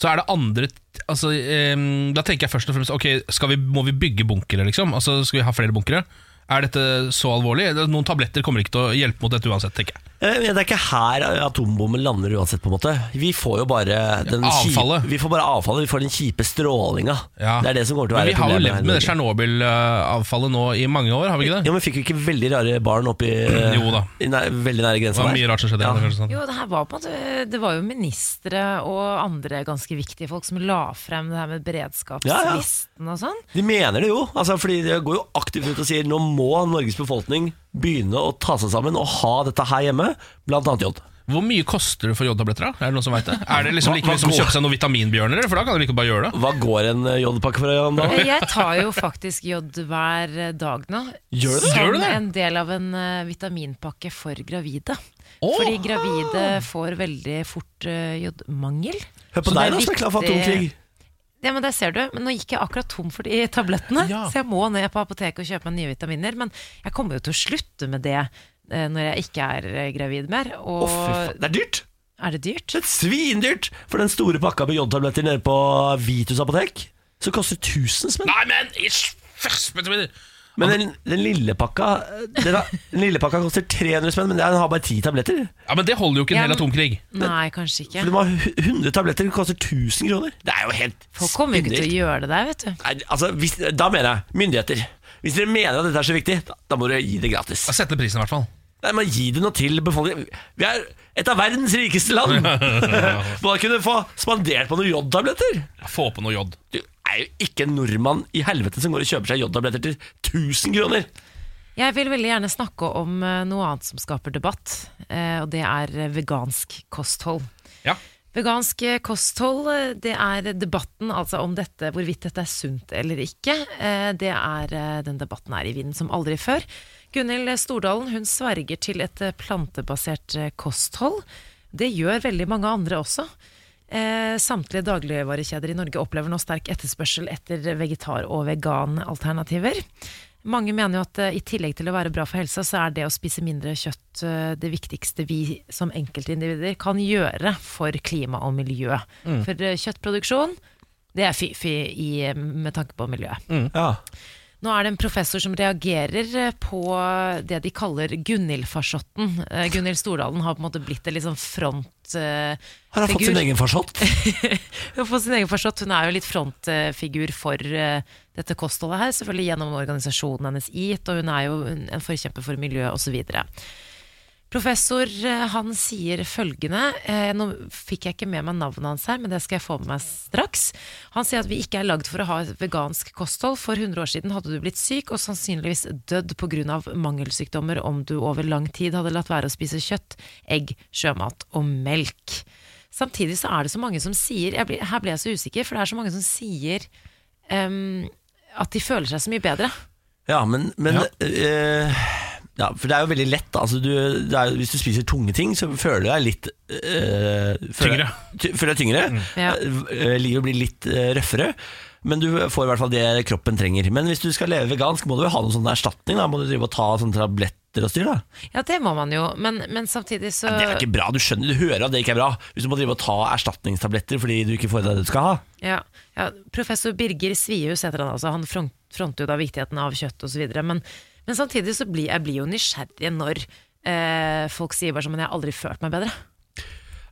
så er det andre t- altså, ehm, Da tenker jeg først og fremst Ok, skal vi, må vi bygge bunkere, liksom? Altså, Skal vi ha flere bunkere? Er dette så alvorlig? Det- Noen tabletter kommer ikke til å hjelpe mot dette uansett, tenker jeg.
Eh, men Det er ikke her atombomben lander uansett, på en måte. Vi får jo bare den
Avfallet.
Kjipe, vi får bare avfallet. Vi får den kjipe strålinga.
Ja.
Det er det som kommer til å
Men
være
vi har jo
problemet
levd med det
her i Norge.
Tsjernobyl-avfallet nå i mange år, har vi ikke det?
Ja, men Fikk vi ikke veldig rare barn oppi eh,
Jo da.
i nær, veldig nære
Det
grensa
var
der?
mye rart som skjedde.
Ja.
Ja. Kanskje, sånn.
Jo, det her var på en måte Det var jo ministre og andre ganske viktige folk som la frem det her med
Ja, ja.
beredskapslisten og sånn.
De mener det jo, altså, fordi de går jo aktivt ut og sier nå må Norges befolkning begynne å ta seg sammen og ha dette her hjemme, blant annet jod.
Hvor mye koster det for jodtabletter? da? Er det noen som vet det? Er det liksom like
Hva-
mye som å
hva går-
kjøpe seg noen vitaminbjørner? eller? For da kan du like godt bare gjøre det.
Hva går en eh, jodpakke for? Jan, da?
Jeg tar jo faktisk jod hver dag nå.
Gjør du det?
Gjør du
Som
det?
en del av en eh, vitaminpakke for gravide.
Åh!
Fordi gravide får veldig fort eh, jodmangel.
Hør på
Så det
deg, da, som er klar for
viktig-
atomkrig.
Ja, men der ser du. Men nå gikk jeg akkurat tom for de tablettene,
Ja.
så jeg må ned på apoteket og kjøpe meg nye vitaminer. Men jeg kommer jo til å slutte med det eh, når jeg ikke er eh, gravid mer. Og
Å, fy faen. Det er dyrt!
er det dyrt?
Det er svindyrt! For den store pakka med jodtabletter nede på Vitus apotek, så koster 1000 spenn.
Nei, men ish, først, vet du hva det-
Men den, den lille pakka eh, den, har- den lille pakka koster 300 spenn, men den har bare 10 tabletter.
Ja, men det holder jo ikke en
Ja,
hel
men-
atomkrig.
Nei, kanskje ikke.
For de har hu- 100 tabletter, det koster 1000 kroner. Det er jo helt
Folk kommer jo ikke til
spinnvilt.
å gjøre det der, vet du.
Nei, altså, hvis, da mener jeg myndigheter. Hvis dere mener at dette er så viktig, da, da må dere gi det gratis.
Sett ned prisen, i hvert fall.
Nei, men Gi det noe til befolkningen. Vi er et av verdens rikeste land! Bare kunne få spandert på noen jodtabletter!
Få på noe jod.
Du er jo ikke en nordmann i helvete som går og kjøper seg jodtabletter til 1000 kroner!
Jeg vil veldig gjerne snakke om eh, noe annet som skaper debatt, eh, og det er eh, vegansk kosthold.
Ja.
Vegansk eh, kosthold, eh, det er debatten altså om dette, hvorvidt dette er sunt eller ikke. Eh, Det er, eh, den debatten er i vinden som aldri før. Gunhild Stordalen hun sverger til et eh, plantebasert eh, kosthold. Det gjør veldig mange andre også. Eh, Samtlige dagligvarekjeder i Norge opplever nå sterk etterspørsel etter vegetar- og veganalternativer. Mange mener jo at eh, i tillegg til å være bra for helsa, så er det å spise mindre kjøtt eh, det viktigste vi som enkeltindivider kan gjøre for klima og miljø.
Mm. Mm.
For eh, kjøttproduksjon, det er fy-fy i, eh, med tanke på miljøet.
Ja.
Nå er det en professor som reagerer eh, på det de kaller Gunhild-farsotten. Eh, Gunhild Stordalen har på en måte blitt en litt sånn eh,
Har han fått sin
frontfigur.
egen farsott?
Hun har fått sin egen farsott. Hun er jo litt frontfigur for eh, dette kostholdet her, selvfølgelig gjennom organisasjonen hennes EAT, og hun er jo en en forkjemper for miljø osv. Professor eh, han sier følgende eh, Nå fikk jeg ikke med meg navnet hans her, men det skal jeg få med meg straks. Han sier at vi ikke er lagd for å ha et vegansk kosthold. For 100 år siden hadde du blitt syk og sannsynligvis dødd pga. mangelsykdommer om du over lang tid hadde latt være å spise kjøtt, egg, sjømat og melk. Samtidig så er det så mange som sier jeg blir, Her ble jeg så usikker, for det er så mange som sier em, at de føler seg så mye bedre.
Ja, men, men
Ja.
eh, ja, for det er jo veldig lett. da. Altså, du, det er, jo- hvis du spiser tunge ting, så føler du deg litt eh, føler-
Tyngre.
Ty, føler deg tyngre.
Ja.
Eh, livet blir litt eh, røffere. Men du får i hvert fall det kroppen trenger. Men hvis du skal leve vegansk, må du jo ha noen sånn erstatning. Da må du drive og ta sånne tabletter og styr. da
Ja, det må man jo, men, men samtidig så
Det er ikke bra. Du skjønner, du hører at det ikke er bra. Hvis du må drive og ta erstatningstabletter fordi du ikke får i deg det du skal ha.
Ja, ja, professor Birger Svihus heter han altså. Han front, fronter jo da viktigheten av kjøtt osv. Men, men samtidig så blir jeg blir jo nysgjerrig når eh, folk sier bare sånn Men jeg har aldri følt meg bedre.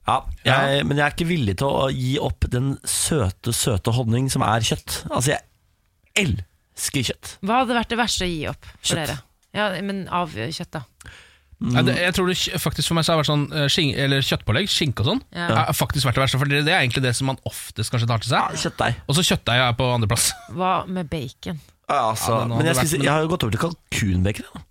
Ja, jeg, Men jeg er ikke villig til å gi opp den søte, søte honning som er kjøtt. Altså, jeg elsker kjøtt.
Hva hadde vært det verste å gi opp for
Kjøtt.
dere? Ja, men av eh, kjøtt, da.
Nei, det, jeg tror det kj- faktisk for meg så har det vært sånn eh, skin, eller kjøttpålegg, skinke og sånn.
Ja.
Har faktisk vært det verste, for det, det er egentlig det som man oftest kanskje tar til seg.
Kjøttdeig.
Og så kjøttdeig er på andreplass.
Hva med bacon?
Altså,
Ja, men nå
men
hadde
jeg,
det vært-
spiser, jeg har jo gått over til kalkunbacon. jeg, da.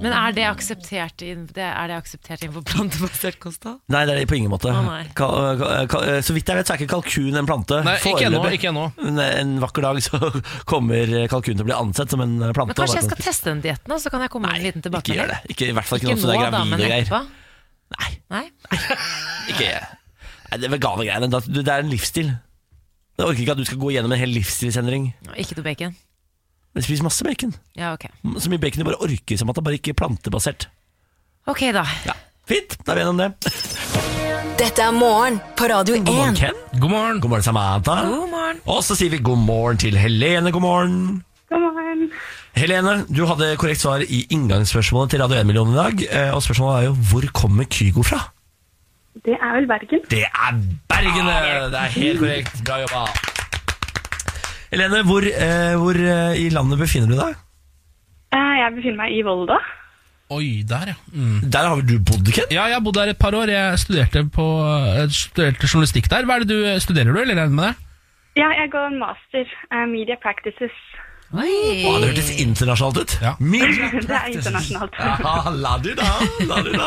Men er det akseptert, inn- det, er det akseptert innenfor plantebasert kost, da?
Nei, det er det på ingen måte.
Å, nei.
Kal, kal, kal, eh, så vidt jeg vet, så er ikke kalkun en plante.
Nei, ikke ennå.
foreløpig.
Ikke ennå.
Men eh, en vakker dag så kommer eh, kalkun til å bli ansett som en eh, plante.
Men kanskje jeg skal teste den dietten, da, så kan jeg komme med en liten
Ikke gjør
tilbakemelding.
det. Ikke, I hvert fall ikke,
Ikke
noe som
nå,
det er
da,
gravid
men
og greier.
etterpå.
Nei,
Nei?
ikke Nei, Det vegane greiene, da- det er en livsstil. Jeg orker ikke at du skal gå gjennom en hel livsstilsendring.
Ikke noe bacon?
Men Spis masse bacon.
Ja, ok.
Så mye bacon du bare orker, som at det bare ikke er plantebasert.
Ok, da.
Ja, Fint, da er vi gjennom det.
Dette er morgen på Radio
God morgen,
1.
Ken.
God morgen.
God morgen, Samantha.
God morgen.
Og så sier vi god morgen til Helene. God morgen.
God morgen.
Helene, du hadde korrekt svar i inngangsspørsmålet til Radio 1-millionen i dag. eh, Og spørsmålet er jo hvor kommer Kygo fra?
Det er vel Bergen.
Det er Bergen! det er helt korrekt. Bra jobba. Helene, hvor, eh, hvor eh, i landet befinner du deg?
Eh, Jeg befinner meg i Volda.
Oi, der, ja. Mm.
Der har vel du bodd, Ken?
Ja, jeg har bodd der et par år. Jeg studerte, på, eh, studerte journalistikk der. Hva er det du eh, Studerer du, eller er det med deg?
Ja, jeg går en master. eh, Media Practices.
Å, det hørtes internasjonalt ut.
Ja.
Min-
Det er internasjonalt.
Ja, la du da, la du da.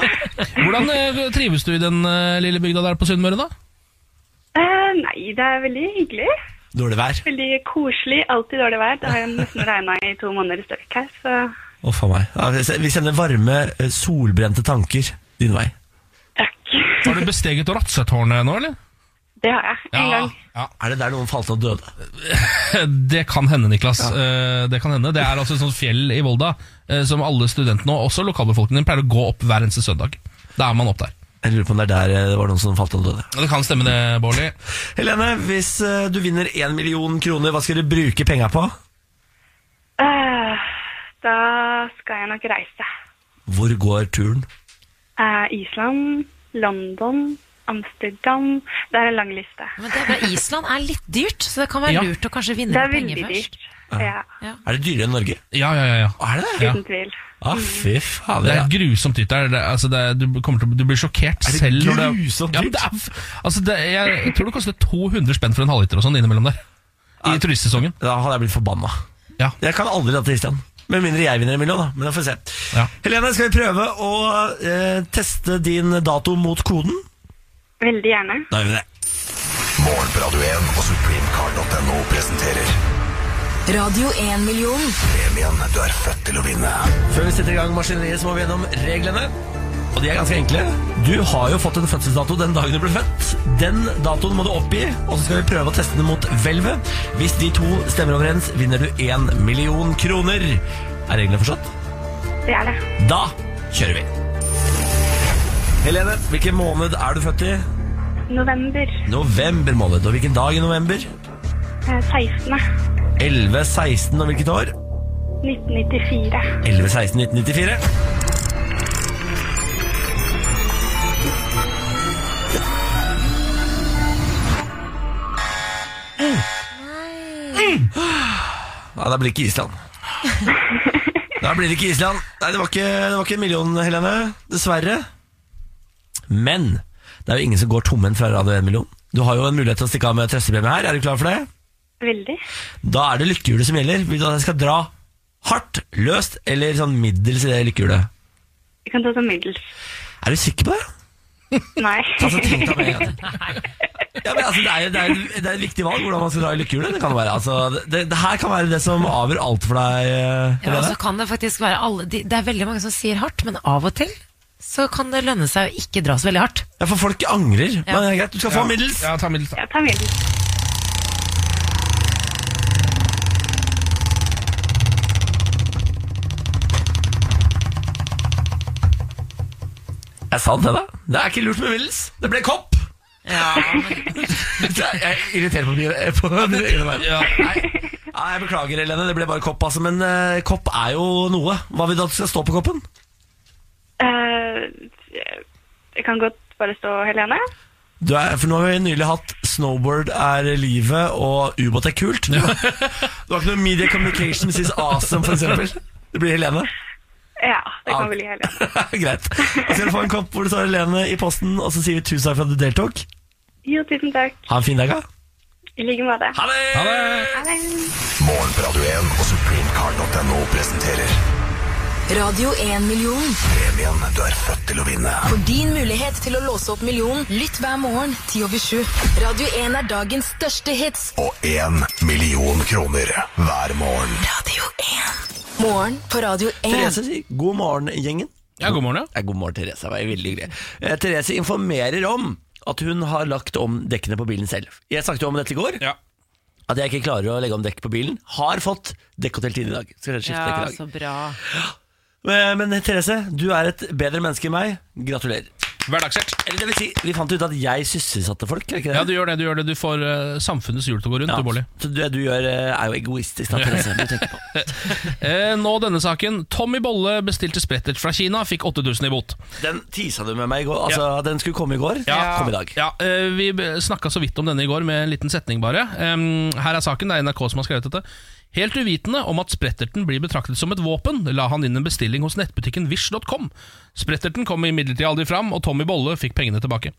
Hvordan eh, trives du i den eh, lille bygda der på Sunnmøre, da?
Eh, Nei, det er veldig hyggelig.
Dårlig vær.
Veldig koselig. Alltid dårlig vær. Det har jo nesten regna i to måneder i strekk her, så
Å, faen meg. Ja, vi se- vi sender varme, eh, solbrente tanker din vei.
takk.
Har du besteget Ratsetårnet nå, eller?
Det har jeg. En gang.
ja.
Er det der noen falt og døde?
Det kan hende, Niklas. Eh, Det kan hende. Det er altså et sånt fjell i Volda eh, som alle studentene og også lokalbefolkningen pleier å gå opp hver eneste søndag. Da er man opp der.
Jeg lurer på om det er der eh, det var noen som falt og døde.
Det kan stemme det, Bårli.
Helene, hvis eh, du vinner 1 million kroner, hva skal du bruke penger på?
Eh, Da skal jeg nok reise.
Hvor går turen?
Eh, Island, London, Amsterdam. Det er en lang liste.
Men det er bra. Island er litt dyrt, så det kan være
Ja.
lurt å kanskje vinne
Det er
litt penger
veldig
først.
dyrt. Ja,
Er det dyrere enn Norge?
Ja, ja, ja. ja.
Er det det?
Ja.
uten tvil.
Ah, fy faen.
Det
Det
er
er,
grusomt dyrt der. Det, er- altså det, er- du, kommer til, å- du blir sjokkert
Er det
selv. når
grusomt
ja, men det er, f- altså det, jeg, jeg tror det koster 200 spenn for en halvliter og sånn innimellom der. I turistsesongen.
da hadde jeg blitt forbanna.
Ja.
Jeg kan aldri dra til Island. Med mindre jeg vinner en million, da. Men jeg får se.
Ja.
Helene, skal vi prøve å eh, teste din dato mot koden?
Veldig gjerne.
Da gjør vi det.
Morgen på Radio 1 og supremecar.no presenterer
Radio 1-million.
premien du er født til å vinne.
Før vi setter i gang maskineriet, så må vi gjennom reglene. Og de er ganske enkle. Du har jo fått en fødselsdato den dagen du ble født. Den datoen må du oppgi, og så skal vi prøve å teste den mot hvelvet. Hvis de to stemmer overens, vinner du én million kroner. Er reglene forstått?
Det er det.
Da kjører vi. Helene, hvilken måned er du født i?
November
November måned. Og hvilken dag i november?
eh, 16.
11, 16 og hvilket år?
1994.
11, 16, 1994. Nei, da blir det ikke Island. Da blir det ikke Island. Nei, det var ikke, det var ikke en million, Helene. Dessverre. Men det er jo ingen som går tomhendt fra Radio 1 million. Du har jo en mulighet til å stikke av med trøstepremie her. Er du klar for det?
Veldig.
Da er det lykkehjulet som gjelder. Vil du at jeg skal dra hardt, løst eller sånn middels i det lykkehjulet?
Vi kan ta det middels.
Er du sikker på det?
Nei.
Altså, tenk deg med. Ja, men altså, det, er, jo- det, er, det er et viktig valg hvordan man skal dra i lykkehjulet. Det, kan jo være, altså, det, det her kan være det som avgjør alt for deg. eh,
Ja, altså- og
Helene.
så kan det faktisk være alle de, Det er veldig mange som sier hardt, men av og til så kan det lønne seg å ikke dra så veldig hardt.
Ja, for folk angrer. Men det er greit, du skal få middels.
Ja, ta middels. da.
Jeg tar middels.
Jeg sa det, da. Det er ikke lurt med middels. Det ble kopp.
Ja,
Jeg irriterer på mye på mine egne vegne.
Ja.
Nei, Nei, jeg beklager, Helene. Det ble bare kopp, altså. Men eh, kopp er jo noe. Hva vil du at det skal stå på koppen?
Eh, jeg kan godt bare stå Helene.
Du er, for nå har vi nylig hatt 'Snowboard er livet' og 'Ubåt er kult'. Du har ikke noe 'Media Communications is awesome', for eksempel. Det blir Helene.
Ja, det
Ja.
kan bli Helene.
Greit. Da skal du få en kopp hvor det står Helene i posten, og så sier vi tusen takk for at du deltok.
Jo, tusen takk.
Ha en fin dag, da.
I like måte.
Ha det!
Ha det.
Ha det.
Morgen på Radio 1 og supremecard.no presenterer
Radio 1 million.
premien du er født til å vinne.
For din mulighet til å låse opp millionen, lytt hver morgen 10 over 7. Radio 1 er dagens største hits.
Og én million kroner hver morgen.
Radio 1. Morgen på Radio 1.
Therese sier god morgen, gjengen.
Ja, god morgen, ja.
Ja, god morgen, Therese. Det var veldig hyggelig. Eh, Therese informerer om at hun har lagt om dekkene på bilen selv. Jeg snakket jo om dette i går.
ja.
At jeg ikke klarer å legge om dekk på bilen. Har fått dekkhotel tidlig i dag. Skal skifte dekk i dag.
så bra.
Eh, Men Therese, du er et bedre menneske enn meg. Gratulerer.
Hverdagshjert.
Eller det vil si, vi fant ut at jeg sysselsatte folk, er det ikke det?
Ja, du gjør det. Du gjør det Du får eh, samfunnets hjul til å gå rundt,
Ja,
du, Bolli.
Så det du gjør, eh, er jo egoistisk, da, Therese. Du tenker på.
Eh, nå denne saken. Tommy Bolle bestilte sprettert fra Kina, fikk 8000 i bot.
Den tisa du med meg i går. Altså, Den skulle komme i går, kom i dag.
Ja, eh, Vi b- snakka så vidt om denne i går med en liten setning, bare. Em, her er saken, det er NRK som har skrevet dette. Helt uvitende om at spretterten blir betraktet som et våpen, la han inn en bestilling hos nettbutikken wish.com. Spretterten kom imidlertid aldri fram, og Tommy Bolle fikk pengene tilbake.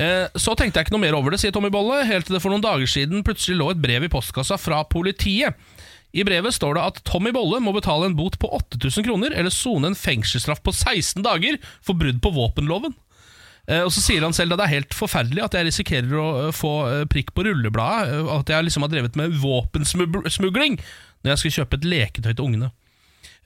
Eh, så tenkte jeg ikke noe mer over det, sier Tommy Bolle, helt til det for noen dager siden plutselig lå et brev i postkassa fra politiet. I brevet står det at Tommy Bolle må betale en bot på 8000 kroner, eller sone en fengselsstraff på 16 dager for brudd på våpenloven. Eh, Og så sier han selv at det er helt forferdelig at jeg risikerer å eh, få eh, prikk på rullebladet, eh, at jeg liksom har drevet med våpensmugling når jeg skal kjøpe et leketøy til ungene.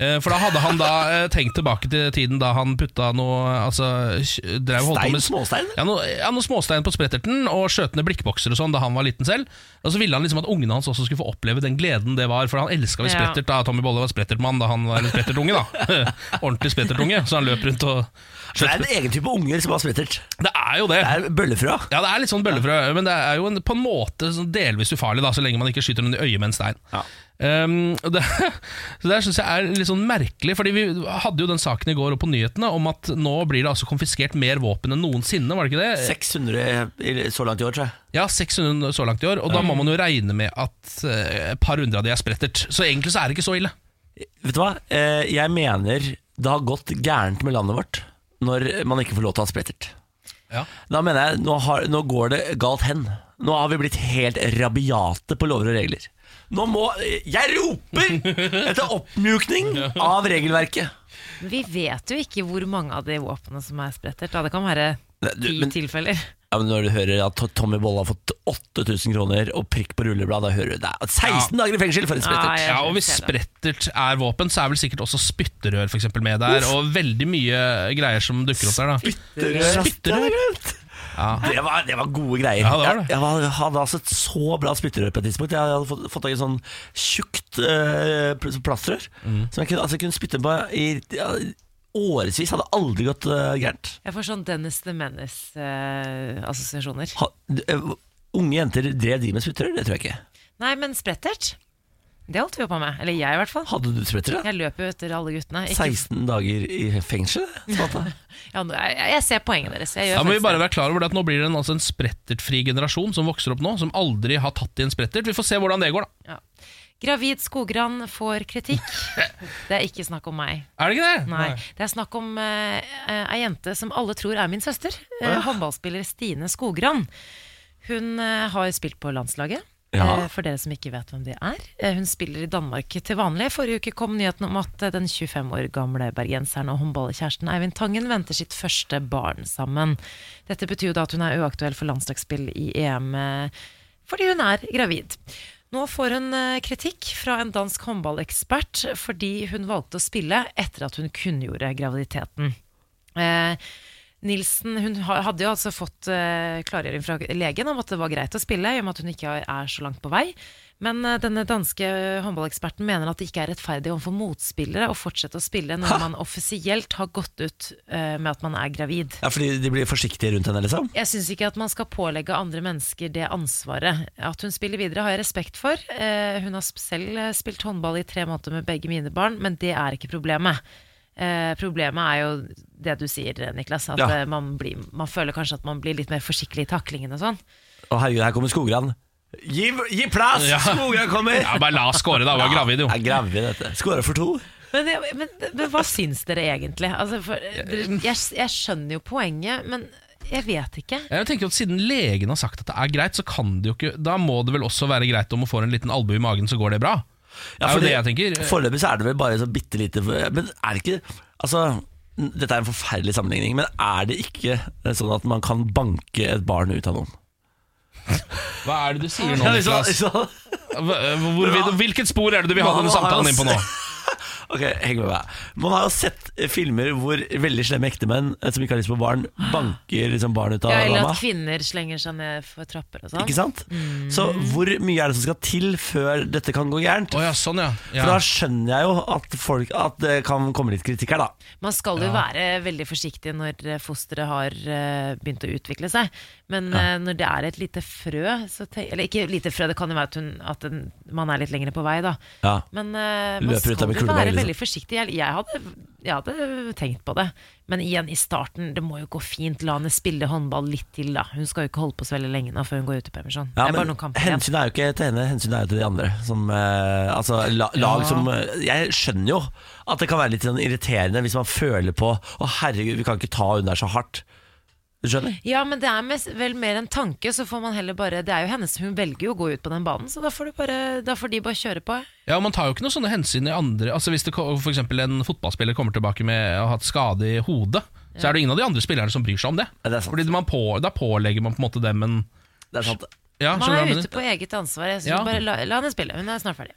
Eh, For da hadde han da eh, tenkt tilbake til tiden da han putta noe altså, kj- drev, holdt på
Stein,
med,
småstein?
Ja, noe, ja, noe småstein på spretterten og skjøtende blikkbokser og sånn da han var liten selv. Og så ville han liksom at ungene hans også skulle få oppleve den gleden det var, for han elska vi
Ja.
sprettert da Tommy Bolle var sprettertmann, da han var en sprettertunge, da. Ordentlig sprettertunge, så han løp rundt og
Så det er en egen type unger som har sprettert.
Det er jo det!
Det er bøllefrø.
Ja, det er litt sånn bøllefrø, men det er jo en, på en måte sånn delvis ufarlig, da, så lenge man ikke skyter noen i øyet med en stein. Um, og det, så det syns jeg er litt sånn merkelig, Fordi vi hadde jo den saken i går og på nyhetene om at nå blir det altså konfiskert mer våpen enn noensinne, var det ikke det?
600 i- så langt i år, tror jeg.
Ja, 600 så langt i år, og
Mm.
da må man jo regne med at eh, et par hundre av de er sprettert. Så egentlig så er det ikke så ille.
Vet du hva? Eh, Jeg mener det har gått gærent med landet vårt når man ikke får lov til å ha sprettert.
Ja.
Da mener jeg, nå, har, nå går det galt hen. Nå har vi blitt helt rabiate på lover og regler. Nå må Jeg roper etter oppmjukning av regelverket.
Vi vet jo ikke hvor mange av de våpnene som er sprettert. Da. Det kan være
Nei, du,
ti
men-
tilfeller.
Ja, men Når du hører at Tommy Bolle har fått 8000 kroner og prikk på rullebladet, da hører du det. er 16 dager i fengsel for en
Nei,
sprettert.
Ah, jeg
Ja, og
ser
hvis
det.
sprettert er våpen, så er vel sikkert også spytterør for eksempel, med der, og veldig mye greier som dukker opp der. da
Spytterør. Det, var, det var gode greier.
Ja, det var det.
Jeg, jeg var- hadde altså et så bra spytterør på et tidspunkt. Jeg hadde fått, fått tak i et sånn tjukt eh, pl- plastrør
Mm.
som jeg kunne, altså, jeg kunne spytte på i ja, årevis. Hadde aldri gått eh, gærent.
Jeg får sånn Dennis the Menace-assosiasjoner.
eh, Ha, d- eh, unge jenter drev de med spytterør? Det tror jeg ikke.
Nei, men sprettert? Det holdt vi jo på med. Eller jeg, i hvert fall.
Hadde du sprettere?
Jeg løper jo etter alle guttene. Ikke,
16 dager i fengsel? eh, Samantha?
ja, nå- jeg, jeg ser poenget deres. Jeg gjør
Da må vi
faktisk
bare
det.
være klar over det at nå blir det en, altså en sprettertfri generasjon som vokser opp nå, som aldri har tatt i en sprettert. Vi får se hvordan det går, da.
ja. Gravid skogran får kritikk. Det er ikke snakk om meg.
Er det ikke det?
Nei, Det er snakk om eh, eh, ei jente som alle tror er min søster. Eh, håndballspiller Stine Skogran. Hun eh, har spilt på landslaget.
Ja.
eh, For dere som ikke vet hvem det er. Eh, Hun spiller i Danmark til vanlig. Forrige uke kom nyheten om at eh, den 25 år gamle bergenseren og håndballkjæresten Eivind Tangen venter sitt første barn sammen. Dette betyr jo da at hun er uaktuell for landslagsspill i EM eh, fordi hun er gravid. Nå får hun eh, kritikk fra en dansk håndballekspert fordi hun valgte å spille etter at hun kunngjorde graviditeten. Eh, Nilsen hun ha- hadde jo altså fått eh, klargjøring fra legen om at det var greit å spille, i og med at hun ikke er- er så langt på vei. Men eh, denne danske håndballeksperten mener at det ikke er rettferdig overfor motspillere å fortsette å spille når man offisielt har gått ut eh, med at man er gravid.
Ja, fordi de blir forsiktige rundt henne, liksom?
Jeg syns ikke at man skal pålegge andre mennesker det ansvaret. At hun spiller videre, har jeg respekt for. Eh, hun har sp- selv eh, spilt håndball i tre måneder med begge mine barn, men det er ikke problemet. Eh, problemet er jo det du sier, Niklas. At
Ja.
eh, man, blir, man føler kanskje at man blir litt mer forsiktig i taklingen og sånn.
Å herregud, her kommer Skogran. Gi, gi plass!
Ja.
Skogran kommer!
Ja, bare la oss score, da. Hun er gravid, jo.
Jeg gravid, dette. Skåra for to.
Men, det- men, men hva syns dere egentlig? Altså, for,
Eh,
dere- jeg, jeg skjønner jo poenget, men jeg vet ikke.
Jeg tenker jo at Siden legen har sagt at det er greit, så kan det jo ikke Da må det vel også være greit om hun får en liten albue i magen, så går det bra? er
Ja,
jo
fordi
det jeg tenker.
Foreløpig så er det vel bare så bitte lite Men er det ikke Altså, n- dette er en forferdelig sammenligning, men er det ikke sånn at man kan banke et barn ut av noen?
Hva er det du sier nå,
Ja, liksom-
Niklas?
liksom-
Hva- eh, hvor vil- Hvilket spor er det du vil ha
Man
denne
har
samtalen inn på nå?
Ok, heng med meg. Man har jo sett eh, filmer hvor veldig slemme ektemenn eh, som ikke har lyst på barn, banker liksom barn ut av
Ja, eller
lama.
at kvinner slenger seg ned for trapper og sånn.
Ikke sant? Så hvor mye er det som skal til før dette kan gå gærent?
Å ja, sånn, ja.
For
ja.
da skjønner jeg jo at, folk, at det kan komme litt kritikk her, da.
Man skal jo være veldig forsiktig når eh, fosteret har eh, begynt å utvikle seg. Men eh, når det er et lite frø så tenk, Eller ikke lite frø, det kan jo være at, hun, at den, man er litt lenger på vei, da.
Ja.
Men eh, man
Løper ut av
skal
med
jo
kuleberg,
være
liksom.
veldig forsiktig. Jeg, jeg, hadde, jeg hadde tenkt på det. Men igjen, i starten, det må jo gå fint. La henne spille håndball litt til, da. Hun skal jo ikke holde på så veldig lenge nå før hun går ut i permisjon.
Ja,
det er bare
men
noen kamper igjen.
hensynet er jo ikke til henne, hensynet er jo til de andre. Som, eh, altså, la, lag som eh, Jeg skjønner jo at det kan være litt sånn irriterende hvis man føler på Å, herregud, vi kan ikke ta hun der så hardt. Du skjønner?
Ja, men det er mest, vel mer en tanke, så får man heller bare Det er jo hennes, hun velger jo å gå ut på den banen, så da får, du bare, da får de bare kjøre på.
ja, Man tar jo ikke noen sånne hensyn i andre Altså Hvis det ko- for eksempel en fotballspiller kommer tilbake med å ha hatt skade i hodet, så er det ingen av de andre spillerne som bryr seg om det.
Ja, det er sant.
Fordi man på, Da pålegger man på en måte dem en
Det er sant.
ja,
Man
skjønner du hva
er
jeg mener?
ute på eget ansvar. Jeg synes
Ja.
bare la, la henne spille. Hun er snart ferdig.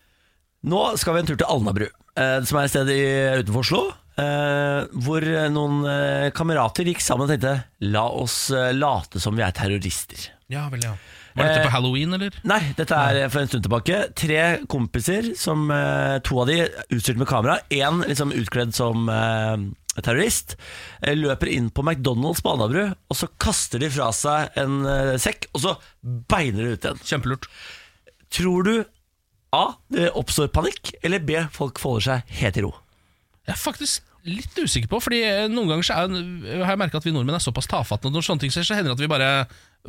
Nå skal vi en tur til Alnabru, eh, som er et sted i, utenfor Oslo. Eh, hvor eh, noen eh, kamerater gikk sammen og tenkte La oss eh, late som vi er terrorister.
Ja, vel, ja. Var dette
Eh,
på halloween, eller?
Nei, dette er for en stund tilbake. Tre kompiser, som eh, to av de er utstyrt med kamera. Én liksom utkledd som eh, terrorist. eh, Løper inn på McDonald's på Alnabru, og så kaster de fra seg en eh, sekk, og så beiner de ut igjen.
Kjempelurt.
Tror du A. Det oppstår panikk, eller B. Folk folder seg helt i ro.
Jeg er faktisk litt usikker på, Fordi eh, noen ganger så er, har jeg merka at vi nordmenn er såpass tafatte at når sånne ting skjer, så hender det at vi bare,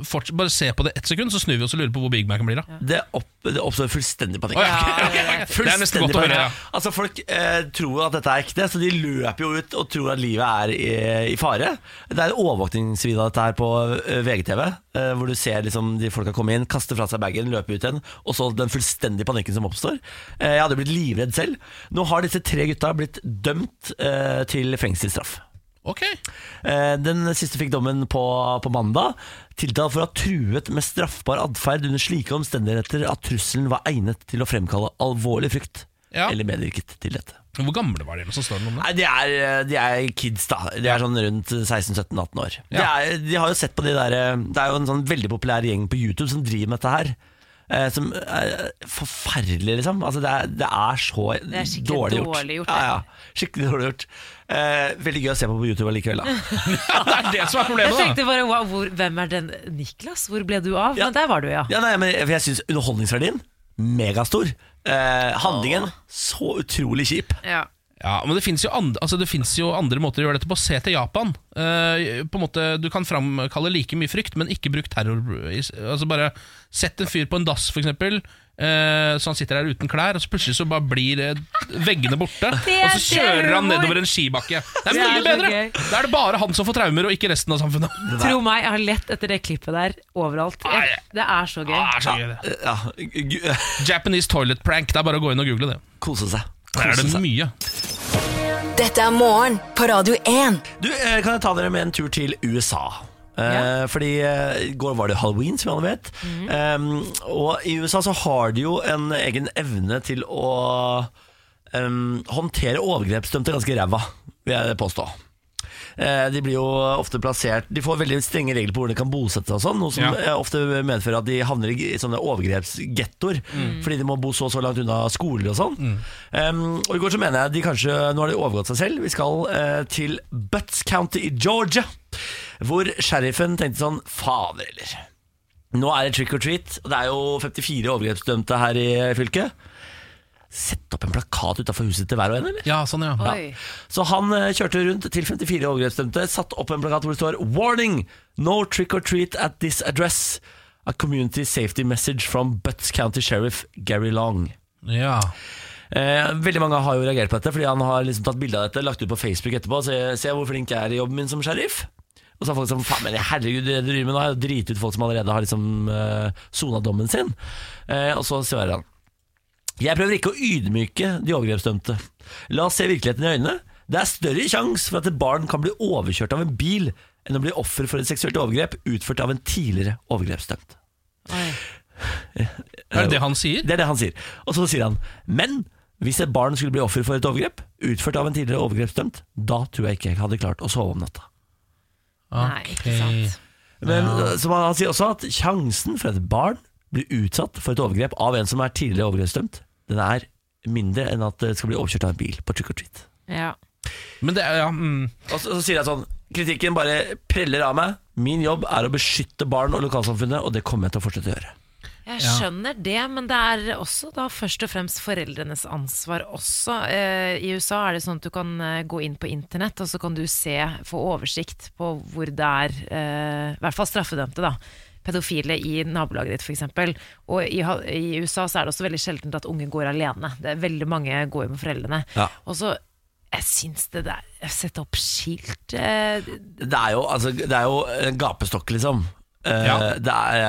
forts- bare ser på det ett sekund, så snur vi oss og lurer på hvor Big Mac-en blir av.
Det, opp, det oppstår fullstendig panikk.
Å, ja, ok, ok, ok. Det er nesten
Fullstendig
godt å høre,
panikk.
ja.
Altså Folk eh, tror at dette er ekte, så de løper jo ut og tror at livet er i, i fare. Det er en overvåkningsvideo av dette her på eh, VGTV, eh, hvor du ser liksom de folka komme inn, kaste fra seg bagen, løpe ut igjen, og så den fullstendige panikken som oppstår. Eh, jeg hadde blitt livredd selv. Nå har disse tre gutta blitt dømt eh, til fengselsstraff.
Ok,
Eh, Den siste fikk dommen på, på mandag. Tiltalt for å ha truet med straffbar atferd under slike omstendigheter at trusselen var egnet til å fremkalle alvorlig frykt.
Ja.
Eller medvirket til dette.
Hvor gamle var de? eller så står det noe om det?
Nei, De er, eh, de er kids, da. De er sånn rundt 16-17-18 år. De,
Ja.
er, de har jo sett på de der eh, Det er jo en sånn veldig populær gjeng på YouTube som driver med dette her. Eh, som er forferdelig, liksom. Altså, det, er, det er så
Det er skikkelig
dårlig gjort.
dårlig gjort,
ja, ja. Skikkelig dårlig gjort. Eh, veldig gøy å se på på YouTube allikevel, da.
det er det som er
Jeg
problemet, da!
tenkte bare wow, hvor, hvem er den Niklas? Hvor ble du av?
Ja.
Men der var du, ja.
Ja, nei, men jeg, for jeg synes underholdningsverdien megastor. Eh, handlingen så utrolig kjip.
Ja.
Ja, men det finnes, jo andre, altså det finnes jo andre måter å gjøre dette på. Se til Japan. Eh, på en måte, du kan framkalle like mye frykt, men ikke bruk terror. Altså bare Sett en fyr på en dass, f.eks., uh, så han sitter der uten klær, og så plutselig så bare blir eh, veggene borte.
Det er
Og så kjører han
terror.
nedover en skibakke. Det
Det
er
er
mye
så
bedre!
gøy.
Da er det bare han som får traumer, og ikke resten av samfunnet.
Tro meg, jeg har lett etter det klippet der overalt. Jeg, det er så gøy.
Det er så gøy, det.
Eh, Ja, gu-
Ah, altså, Japanese toilet prank. Det er bare å gå inn og google det.
Kose seg.
Der er
Kose
det
seg.
mye.
Dette er morgen på Radio 1.
Du, eh, kan jeg ta dere med en tur til USA? Eh, Fordi eh, i går var det halloween, som alle vet.
Mhm.
Eh, og i USA så har de jo en egen evne til å eh, håndtere overgrepsdømte ganske ræva, vil jeg påstå. Eh, De blir jo ofte plassert De får veldig strenge regler på hvor de kan bosette seg og sånn, noe som
Ja.
eh, ofte medfører at de havner i i sånne overgrepsgettoer fordi de må bo så og så langt unna skoler og sånn. Um, og i går så mener jeg de kanskje Nå har de overgått seg selv. Vi skal eh, til Butts County i Georgia, hvor sheriffen tenkte sånn Fader, eller. Nå er det trick or treat. og Det er jo 54 overgrepsdømte her i fylket. Sett opp en plakat utafor huset til hver og en, eller?
Ja, sånn, ja.
Oi.
Så han eh, kjørte rundt til 54 overgrepsdømte, satt opp en plakat hvor det står Warning! No trick or treat at this address. A community safety message from Butts County Sheriff Gary Long.
ja.
Eh, veldig mange har jo reagert på dette, fordi han har liksom tatt bilde av dette, lagt ut på Facebook etterpå. Se, se hvor flink jeg er i jobben min som sheriff. Og så har folk sånn Faen, men herregud, det du driver med nå, er å drite ut folk som allerede har liksom eh, sona dommen sin. Eh, og så svarer han. Jeg prøver ikke å ydmyke de overgrepsdømte. La oss se virkeligheten i øynene. Det er større sjanse for at et barn kan bli overkjørt av en bil enn å bli offer for et seksuelt overgrep utført av en tidligere overgrepsdømt.
Er det det han sier?
Det er det han sier. Og så sier han Men hvis et barn skulle bli offer for et overgrep, utført av en tidligere overgrepsdømt, da tror jeg ikke jeg hadde klart å sove om natta.
Nei, ikke sant.
Men øh, som han, han sier også at sjansen for at et barn blir utsatt for et overgrep av en som er tidligere overgrepsdømt, den er mindre enn at det skal bli overkjørt av en bil på trick or treat.
Ja.
Men det, er- ja, mm.
Og så, så sier han sånn Kritikken bare preller av meg. Min jobb er å beskytte barn og lokalsamfunnet, og det kommer jeg til å fortsette å gjøre.
Jeg skjønner det, men det er også da først og fremst foreldrenes ansvar også. Eh, I USA er det sånn at du kan eh, gå inn på internett, og så kan du se, få oversikt på hvor det er, eh, i hvert fall straffedømte, da. Pedofile i nabolaget ditt, f.eks. Og i, ha- i USA så er det også veldig sjeldent at unge går alene. Det er veldig mange går jo med foreldrene.
Ja.
Og så jeg syns det der Sette opp skilt eh,
Det er jo, altså, det er jo en gapestokk, liksom. Eh,
Ja.
det, er,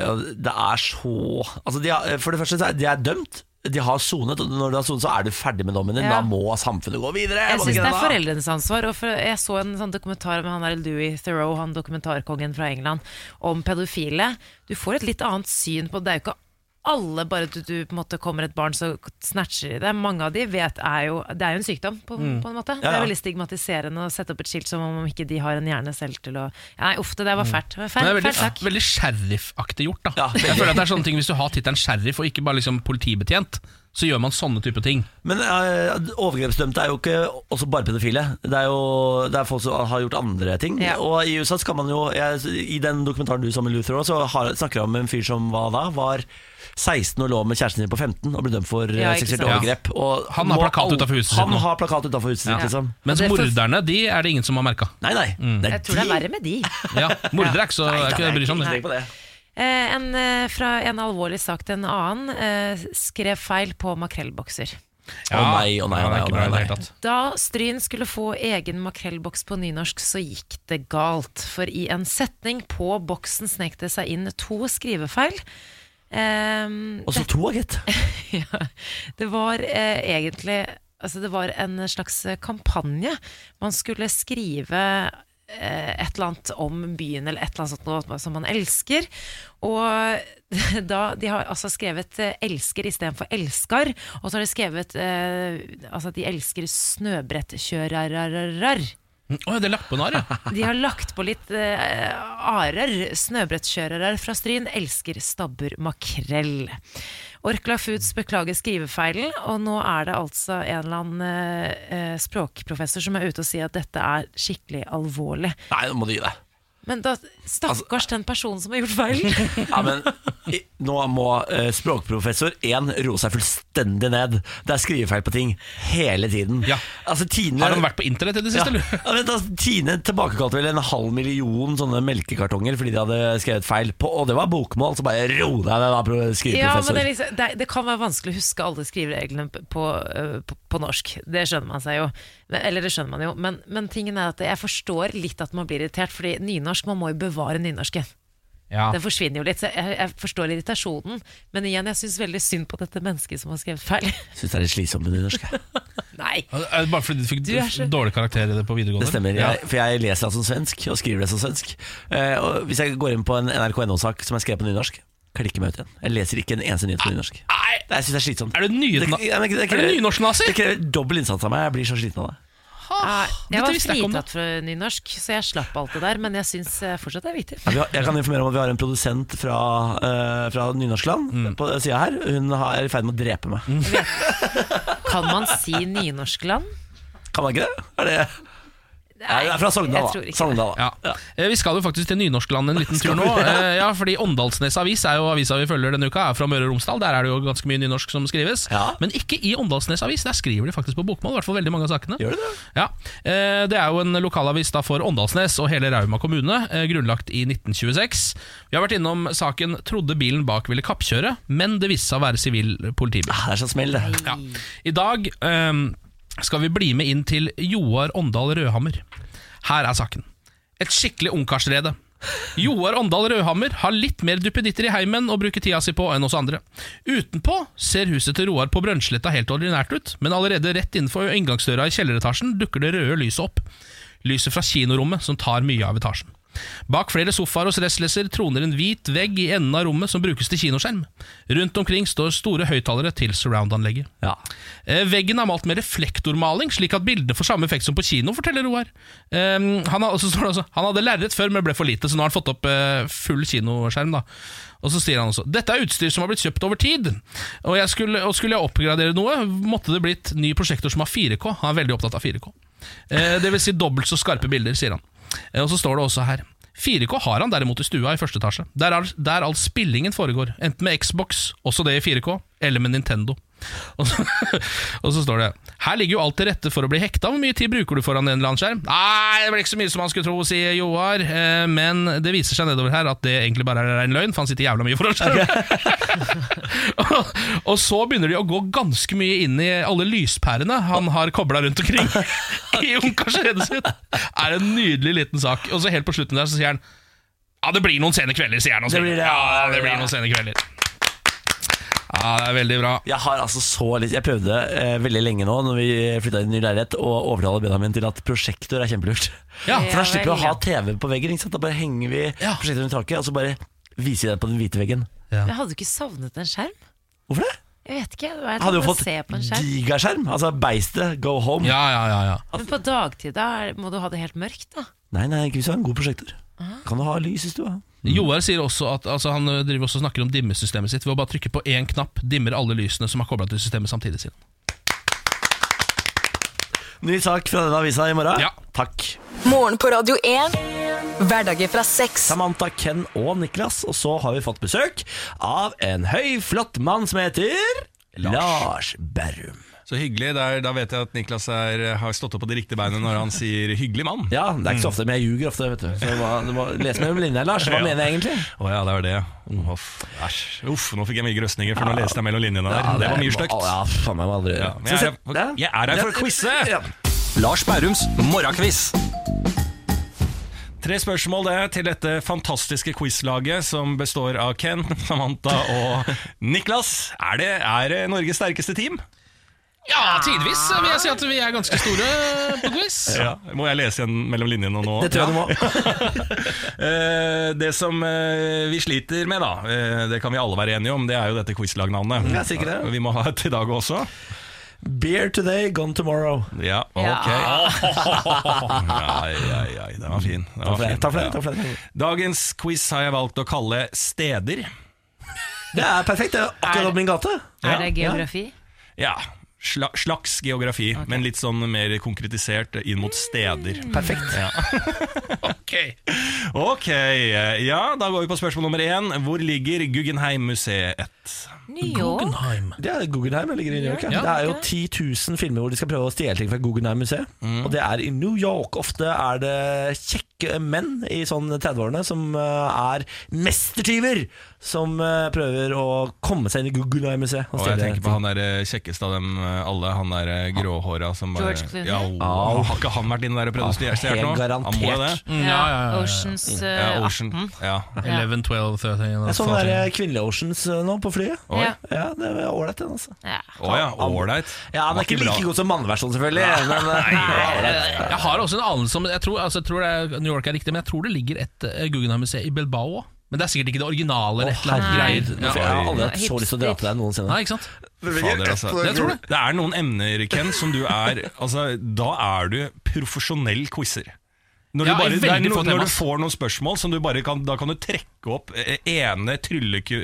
eh, det er så altså, de har, For det første, så er, de er dømt. De har sonet, og når du har sonet, så er du ferdig med dommen din.
Ja.
Da må samfunnet gå videre.
Jeg
må
syns
ikke
det er
da?
foreldrenes ansvar. Og for, jeg så en sånn dokumentar med han der Louis Theroux, han dokumentarkongen fra England, om pedofile. Du får et litt annet syn på det. Det er jo ikke alle, bare du, du på en måte kommer et barn, så snatcher de det. Mange av de vet er jo Det er jo en sykdom, på, på en måte. Det
Ja, ja.
er veldig stigmatiserende å sette opp et skilt som om ikke de har en hjerne selv til å Nei, uff, det der var fælt. Det var
Men
Fæl,
det er veldig,
fæl sak.
veldig sheriffaktig gjort. da
Ja, veldig.
Jeg føler at det er sånne ting Hvis du har tittelen sheriff og ikke bare liksom politibetjent, så gjør man sånne type ting.
Men eh, overgrepsdømte er jo ikke også bare pedofile. Det er jo det er folk som har gjort andre ting.
Ja.
Og i USA skal man jo jeg, I den dokumentaren du sammen med Luther også, har, snakker han om en fyr som var da var 16 og lå med kjæresten sin på 15 og ble dømt for eh,
Ja, ikke
seksuelt
sant.
overgrep. Og
Han har
må
plakat
al-
utenfor huset sitt
Han
nå.
har plakat utenfor huset sitt, liksom.
Mens
Og det er for-
morderne de er det ingen som har merka.
Nei, nei.
Mm.
Jeg tror det er verre med de.
Ja, mordere er ikke så er ikke, bryr seg om det.
Tenk på det.
Eh, en, eh, fra en alvorlig sak til en annen. Eh, skrev feil på makrellbokser.
Å nei, å nei,
ja, det
å nei.
er
Å
ikke bra i
nei, å
det
nei.
hele tatt.
Da Stryn skulle få egen makrellboks på nynorsk, så gikk det galt. For i en setning på boksen snek det seg inn to skrivefeil. Ehm,
Og så to, gitt.
ja, det var eh, egentlig altså Det var en slags eh, kampanje. Man skulle skrive eh, et eller annet om byen eller et eller annet sånt noe som man elsker. Og da, de har altså skrevet eh, 'elsker' istedenfor 'elskar'. Og så har de skrevet eh, altså at de elsker snøbrettkjørarar.
Å, det er lappenar, ja.
De har lagt på litt eh, arer. Snøbrettkjørere fra Stryn elsker stabbur makrell. Orkla Foods beklager skrivefeilen, og nå er det altså en eller annen eh, eh, språkprofessor som er ute og sier at dette er skikkelig alvorlig.
Nei, nå må du gi deg.
Men da, stakkars den personen som har gjort feilen!
Ja, men i- Nå må eh, språkprofessor 1 roe seg fullstendig ned. Det er skrivefeil på ting hele tiden.
Ja.
Altså, Tine,
Har han vært på internett i det siste, eller?
ja. Ja, vent, altså, Tine tilbakekalte vel en halv million sånne melkekartonger fordi de hadde skrevet feil, på, og det var bokmål, så bare ro deg ned, da, pro-
Ja, men
skriveprofessor.
det, er liksom, det, er- det kan være vanskelig å huske alle skrivereglene p- på, øh, på, på norsk. Det skjønner man seg jo. Men- Eller det skjønner man jo. Men, men tingen er at jeg forstår litt at man blir irritert, fordi nynorsk, man må jo bevare nynorsken.
Ja.
Den forsvinner jo litt, så jeg, jeg forstår irritasjonen. Men igjen, jeg syns veldig synd på dette mennesket som har skrevet feil.
Syns det er litt slitsomt med nynorsk. jeg.
Nei.
Er det Bare fordi du fikk
Du er så-
dårlig karakter i det på videregående?
Det stemmer.
Ja.
Jeg, for jeg leser det som svensk, og skriver det som svensk. Eh, og hvis jeg går inn på en NRK.no-sak som jeg skrev på nynorsk, klikker meg ut igjen. Jeg leser ikke en eneste nyhet på nynorsk.
Nei,
Det, jeg syns det er slitsomt.
er du nyhetna...
ja, men
Er du nynorsk-nazi?
det krever dobbel innsats av meg. Jeg blir så sliten av det.
Ah,
Jeg
dette
var
visste jeg ikke om, da.
fritatt fra nynorsk, så jeg slapp alt det der. Men jeg syns fortsatt det er viktig.
Ja, vi har, jeg kan informere om at vi har en produsent fra, uh, fra nynorskland
Mm.
på sida her. Hun har, er i ferd med å drepe meg.
Kan man si nynorskland?
Kan man ikke det? Er det Nei, det er fra Sogndal,
jeg tror
da.
ikke det.
Sogndal, da.
Ja. Eh, Vi skal jo faktisk til Nynorskland en liten tur nå. Eh, Ja, fordi Åndalsnes Avis er jo avisa vi følger denne uka, er fra Møre og Romsdal. Der er det jo ganske mye nynorsk som skrives.
Ja.
Men ikke i Åndalsnes Avis, der skriver de faktisk på bokmål. I hvert fall veldig mange av sakene.
Gjør du det?
Ja, eh, Det er jo en lokalavis da for Åndalsnes og hele Rauma kommune, eh, grunnlagt i 1926. Vi har vært innom saken 'Trodde bilen bak ville kappkjøre', men det viste seg å være sivil politibil.
Ah, Det er så smell, det.
Ja. I dag ehm, skal vi bli med inn til Joar Åndal Rødhammer. Her er saken. Et skikkelig ungkarsrede. Joar Åndal Rødhammer har litt mer duppeditter i heimen å bruke tida si på enn oss andre. Utenpå ser huset til Roar på Brønnsletta helt ordinært ut, men allerede rett innenfor inngangsdøra i kjelleretasjen dukker det røde lyset opp. Lyset fra kinorommet som tar mye av etasjen. Bak flere sofaer hos restlesser troner en hvit vegg i enden av rommet som brukes til kinoskjerm. Rundt omkring står store høyttalere til surround-anlegget.
Ja.
Eh, Veggen er malt med reflektormaling, slik at bildene får samme effekt som på kino, forteller Roar. Ehm, han, har, og så står det også, han hadde lerret før, men ble for lite, så nå har han fått opp eh, full kinoskjerm. da. Og så sier han også dette er utstyr som har blitt kjøpt over tid, og, jeg skulle, og skulle jeg oppgradere noe, måtte det blitt ny prosjektor som har 4K. Han er veldig opptatt av 4K. Eh, det vil si dobbelt så skarpe bilder, sier han. Eh, og så står det også her 4K har han derimot i stua i første etasje, der, all- der all spillingen foregår, enten med Xbox, også det i 4K, eller med Nintendo. Og så, og så står det Her ligger jo alt til rette for å bli hekta. Hvor mye tid bruker du foran en eller annen skjerm? Nei, det blir ikke så mye som han skulle tro, sier Joar. Eh, Men det viser seg nedover her at det egentlig bare er en løgn, for han sitter jævla mye foran skjerm. og, og så begynner de å gå ganske mye inn i alle lyspærene han har kobla rundt omkring i ungkarsredet sitt. Er en nydelig liten sak. Og så helt på slutten der så sier han Ja, det blir noen sene kvelder, sier han. og
Det blir
smiler.
det, ja,
ja, det blir noen sene kvelder. Ja, det er veldig bra.
Jeg har altså så litt Jeg prøvde eh, veldig lenge nå Når vi flytta inn i ny leilighet Å overtale Benjamin til at prosjektor er kjempelurt
Ja,
For da
Ja,
slipper vi å
vel,
ha
ja.
TV på veggen ikke sant? Da bare henger vi
Ja.
prosjektor under taket Og så bare viser vi det på den hvite veggen
Jeg hadde jo ikke savnet en skjerm.
Hvorfor det?
Jeg vet ikke. Det var
Jeg
et
hadde jo
eller annet å
fått
se på en skjerm.
gigaskjerm Altså beistet, go home
Ja, ja, ja, ja.
Men på dagtid da er- må du ha det helt mørkt, da.
Nei, nei, ikke hvis du har en god prosjektor
Ah.
Kan du ha lys i stua
Joar sier også at altså, han ø, driver også og snakker om dimmesystemet sitt ved å bare trykke på én knapp, dimmer alle lysene som er kobla til systemet samtidig. Sier. han.
Ny sak fra denne avisa i morgen
Ja.
Takk
Morgen på Radio 1. Hverdager fra seks.
Samantha, Ken og Niklas Og så har vi fått besøk av en høy, flott mann som heter Lars Berrum
Så hyggelig. Der, da vet jeg at Niklas er, har stått opp på de riktige beinet når han sier 'hyggelig mann'.
Ja, det
Mm.
er ikke så ofte, men jeg ljuger ofte, vet du. Så du må, du må lese mellom linjene, Lars. Hva mener jeg egentlig?
Å ja, det var det.
Mm.
Uff, æsj. Uff, nå fikk jeg mye grøsninger, for nå leste jeg mellom linjene der. det, var mye stygt.
Ja, faen meg må aldri
Ja, men jeg er her for-
Ja.
jeg er her for å
Ja.
quizze.
Ja.
Lars Bærums morgenkviss. Tre spørsmål det til dette fantastiske quizlaget som består av Ken, Samantha og Niklas. Er det, er det Norges sterkeste team?
Ja, tidvis ø, vil jeg si at vi er ganske store på quiz.
Ja. Må jeg lese igjen mellom linjene nå?
Det tror jeg du må.
Eh, det som eh, vi sliter med, da, eh, det kan vi alle være enige om, det er jo dette quizlagnavnet.
Ja, sikkert det.
Vi må ha et i dag også.
Beer today, gone tomorrow.
Ja, ok. Ja, ja, ja, den var fin. Den
Takk
var
for det.
fin.
Takk for det,
Ja.
takk for det.
Dagens quiz har jeg valgt å kalle Steder.
det er perfekt. Det er akkurat opp min gate.
Ja.
Er det geografi?
Ja, sla- slags geografi, men litt sånn mer konkretisert inn mot steder.
Perfekt.
Ja. ok, eh, ja, da går vi på spørsmål nummer én. Hvor ligger Guggenheim-museet?
New York.
Guggenheim.
Det er Guggenheim eller ligger i New York. Ja. Det er jo 10 000 filmer hvor de skal prøve å stjele ting fra Guggenheim-museet.
Mm.
Og det er i New York. Ofte er det kjekke menn i sånn 30-årene som eh, er mestertyver, som eh, prøver å komme seg inn i Guggenheim-museet.
Og
og
jeg
stjele
tenker på
ting.
han der eh, kjekkeste av dem eh, alle, han der eh, gråhåra som bare
George Clooney?
Ja, oh,
Au.
å, har ikke han vært inne der og prøvd å
Ja,
stjele stjele
helt
noe? Han må jo det.
garantert.
Mm, ja, ja, ja, ja.
Oceans eh,
Ja, Ocean.
18.
Ja.
11, 12, 13
Jeg så den sånn der Kvinnelige Oceans eh, nå på flyet.
Oi.
Ja.
Ja, det var ålreit, den, altså.
Ja.
Å ja, ålreit.
Ja,
Var
Den er ikke
bra.
like god som manneversjonen, selvfølgelig. Men, eh, ålreit.
Jeg har også en anelse om jeg tror, altså, jeg tror det er, New York er riktig, men jeg tror det ligger et eh, Guggenheim-museet i Bilbao òg. Men det er sikkert ikke det originale. eller
Å,
et eller annet
herregud.
greier.
Jeg har aldri
Oi.
hatt så lyst til å dra til deg
Ja.
noensinne.
Nei, ikke sant?
Fader, altså.
Jeg tror det.
Det er noen emner, Ken, som du er altså, Da er du profesjonell quizer. Når, du
Ja, i
bare, det er
veldig
no,
få
når
temas.
du får noen spørsmål, som du bare kan, da kan du trekke opp eh, ene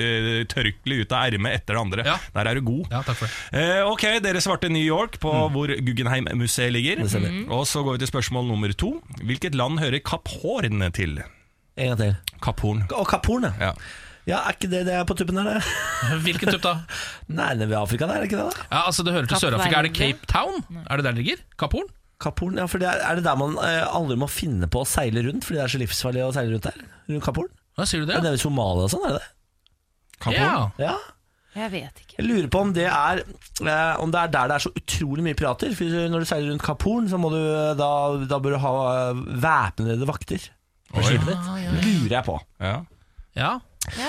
trylletørkleet ut av ermet etter det andre.
Ja.
Der er du god.
Ja, Mm. takk for det.
Eh, ok, dere svarte New York på hvor Guggenheim-museet ligger. Mm. Og så går vi til spørsmål nummer to. Hvilket land hører Kapp Horn til?
En gang til.
Kapp Horn.
Og Kaporn, ja.
Ja.
ja. Er ikke det det er på tuppen der, det?
Hvilken tupp da?
Nei, det er ved Afrika, det er det ikke det? da?
Ja, altså Det hører til
Kapp
Sør-Afrika. Er det
Verde?
Cape Town? Er det der det ligger? Kapp Horn?
Kaporn, ja, for det er, er det der man eh, aldri må finne på å seile rundt, fordi det er så livsfarlig å seile rundt der? Rundt Kaporn?
Hva sier du
Ja.
det?
Det er ved Somalia og sånn, er det det?
Kapp
Ja.
Horn?
Ja.
Jeg vet ikke.
Jeg lurer på om det er eh, Om det er der det er så utrolig mye pirater. For når du seiler rundt Kaporn, så må du eh, da, da bør du ha eh, væpnede vakter. På
Oi.
skipet ditt.
Ah,
Lurer jeg på.
Ja.
Ja,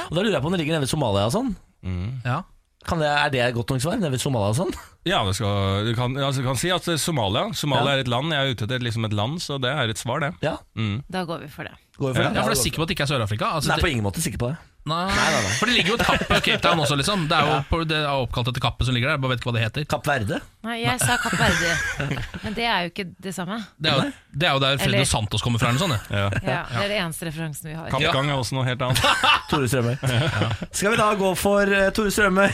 Og da lurer jeg på om det ligger nede ved Somalia og sånn.
ja.
Kan det, er det et godt nok svar? Nede ved Somalia og sånn?
Ja, du, skal, du, kan, altså, du kan si at Somalia Somalia
Ja.
er et land. Jeg er ute etter liksom et land, så det er et svar, det.
Ja,
Da går vi for det.
går vi for
ja for
det? Ja,
du er
det går.
sikker på at det ikke er Sør-Afrika? Altså,
Nei, på ingen måte sikker på det.
det- nei, For det ligger jo et kapp på Cape Town også, liksom. Det er jo på, det er oppkalt etter kappet som ligger der. Jeg bare vet ikke hva det heter.
Kapp Verde?
Nei, jeg sa Kapp Verde. Men det er jo ikke det samme.
Det er jo, det er jo der Freddy
Eller-
Santos kommer fra, eller noe sånt. ja.
Ja.
Ja, det er det eneste referansen vi har.
Kappgang er også noe helt annet.
Tore Strømøy. Skal vi da gå for eh, Tore Strømøy,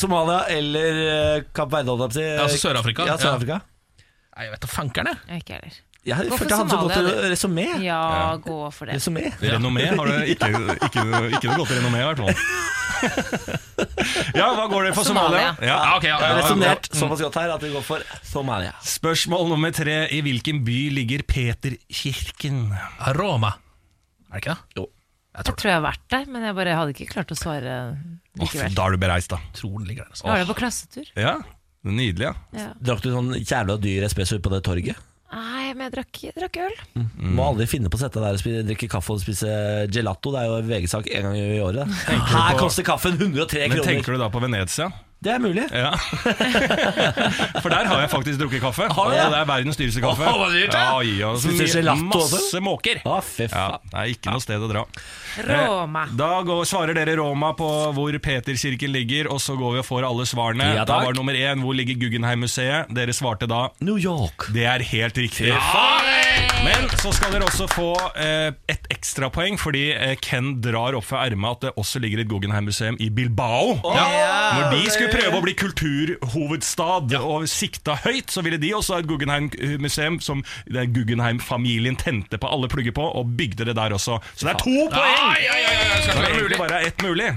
Somalia eller eh, Kapp Verde? holdt jeg
Ja,
på å si?
altså Sør-Afrika.
Ja, Sør-Afrika.
Nei, jeg vet da fankeren, jeg.
Jeg er Ikke heller.
Jeg har
Gå for
følt jeg hadde så
Somalia,
godt resumé.
Ja, gå for det.
Resumé.
Renommé har du ikke, ikke, ikke noe godt renommé, i hvert fall. Ja, hva går det for
Somalia.
Somalia? Ja,
Ja, ok, ja,
Jeg
ja,
har
Mm. ja.
resonnert såpass godt her at vi går for Somalia.
Spørsmål nummer tre. I hvilken by ligger Peterkirken?
Roma. Er det ikke det?
Jo.
Jeg
Jeg
tror,
tror jeg har vært der, men jeg bare hadde ikke klart å svare
Åh,
likevel.
da er du bereist, da.
tror den ligger der. altså.
Jeg var der på klassetur.
Ja, det er Nydelig, ja.
Ja.
Drakk du sånn jævla dyr espresso på det torget?
Nei, men jeg drakk, jeg drakk øl.
Må aldri finne på å sette deg der og spi- drikke kaffe og spise gelato. Det er jo VG-sak en gang i året. det. Her koster kaffen 103
Men
kroner!
tenker du da på Venezia?
Det er mulig.
Ja. For der har jeg faktisk drukket kaffe.
Har du det?
Og det er verdens dyreste kaffe.
Åh, hva dyrt, ja.
ja, ja, så mye-
Spiser gelato også?
Masse måker.
Å, Ah, fy
Ja,
faen.
det er ikke noe sted å dra.
Roma.
Eh, Da går, svarer dere Roma på hvor Peterkirken ligger, og så går vi og får alle svarene.
Ja,
da
takk.
var nummer én hvor ligger Guggenheim-museet. Dere svarte da
New York.
det er helt riktig. Men så skal dere også få eh, et ekstrapoeng, fordi eh, Ken drar opp fra ermet at det også ligger et Guggenheim-museum i Bilbao. Når de skulle prøve å bli kulturhovedstad og sikta høyt, så ville de også ha et Guggenheim-museum som det er Guggenheim-familien tente på alle plugger på, og bygde det der også. Så det er to poeng!
Ai, ai, ai, ai, skal ikke
Så det
være mulig.
egentlig bare er ett mulig.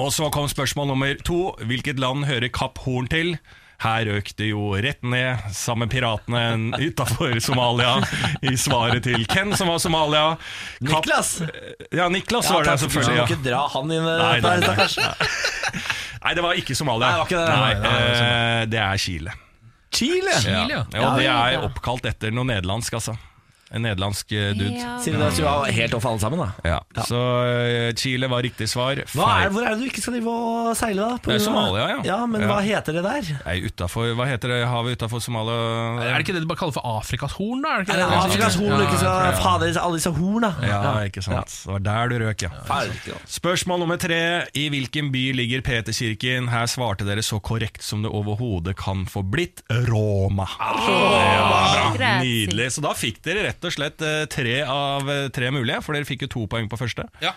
Og så kom spørsmål nummer to. Hvilket land hører Kapp Horn til? Her røk det jo rett ned, sammen med piratene utafor Somalia, i svaret til Ken, som var Somalia. Kapp-
Niklas!
Ja, Niklas
Ja,
var det,
takk,
selvfølgelig.
Du
Ja.
må ikke dra han inn i
Nei,
dette her,
nei, nei.
stakkars.
Nei, det var ikke Somalia.
Nei, det var ikke det.
Nei,
Nei, nei,
eh, det er Chile.
Chile!
Chile, ja.
Ja, og det er oppkalt etter noe nederlandsk, altså. En nederlandsk eh, dude.
Ja.
Siden det var helt off alle sammen, da.
Ja. Så eh, Chile var riktig svar.
Hva er, hvor er det du ikke skal drive og seile, da? På
Det er
grunn av-
Somalia, ja.
ja men
Ja.
hva heter det der?
Nei, utenfor, hva heter det havet utafor Somalia?
Er det ikke det de bare kaller for Afrikas horn, da? Er det ikke
Er det
det?
Afrikas horn du ikke
Ja, jeg
skal
tror det.
Fader, alle disse horn, da.
Ja, ikke sant. Det var der du røk, ja. Spørsmål nummer tre. I hvilken by ligger Peterkirken? Her svarte dere så korrekt som det overhodet kan få blitt. Roma. Ja, bra.
Grazie.
Nydelig. Så da fikk dere rett rett og slett eh, tre av eh, tre mulige, for dere fikk jo to poeng på første.
Ja.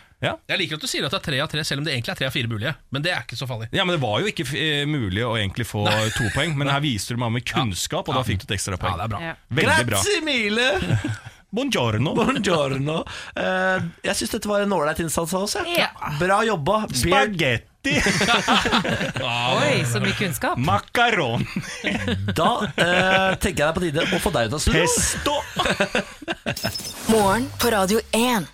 Jeg liker at du sier at det er tre av tre, selv om det egentlig er tre av fire mulige. Men det er ikke så farlig.
Ja, men Det var jo ikke eh, mulig å egentlig få to poeng, men her viste du meg med kunnskap, og da fikk du et ekstra poeng.
Ja, det er bra. Ja.
Veldig bra.
Grazie mille!
Buongiorno.
Buongiorno. Eh, jeg syns dette var en ålreit innsats av oss. jeg.
Ja.
Bra jobba. Beard.
Spagetti
Oi, så mye kunnskap.
macaron
Da eh, tenker jeg det er på tide å få deg ut av studio.
pesto.
Morgen på Radio 1.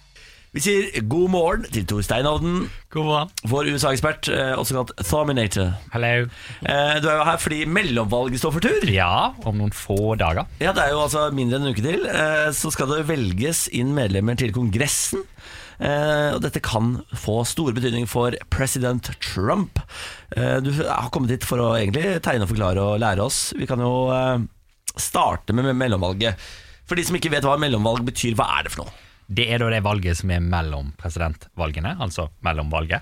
Vi sier god morgen til Tor Steinovden, vår USA-ekspert, eh, også kalt Thominator.
Hello.
Eh, du er jo her fordi mellomvalget står for tur.
Ja, om noen få dager.
Ja, Det er jo altså mindre enn en uke til. eh, Så skal det velges inn medlemmer til Kongressen. Eh, Og dette kan få stor betydning for president Trump. Eh, Du har kommet hit for å egentlig tegne og forklare og lære oss. Vi kan jo eh, starte med mellomvalget. For de som ikke vet hva mellomvalg betyr, hva er det for noe?
Det er da det valget som er mellom presidentvalgene, altså mellomvalget.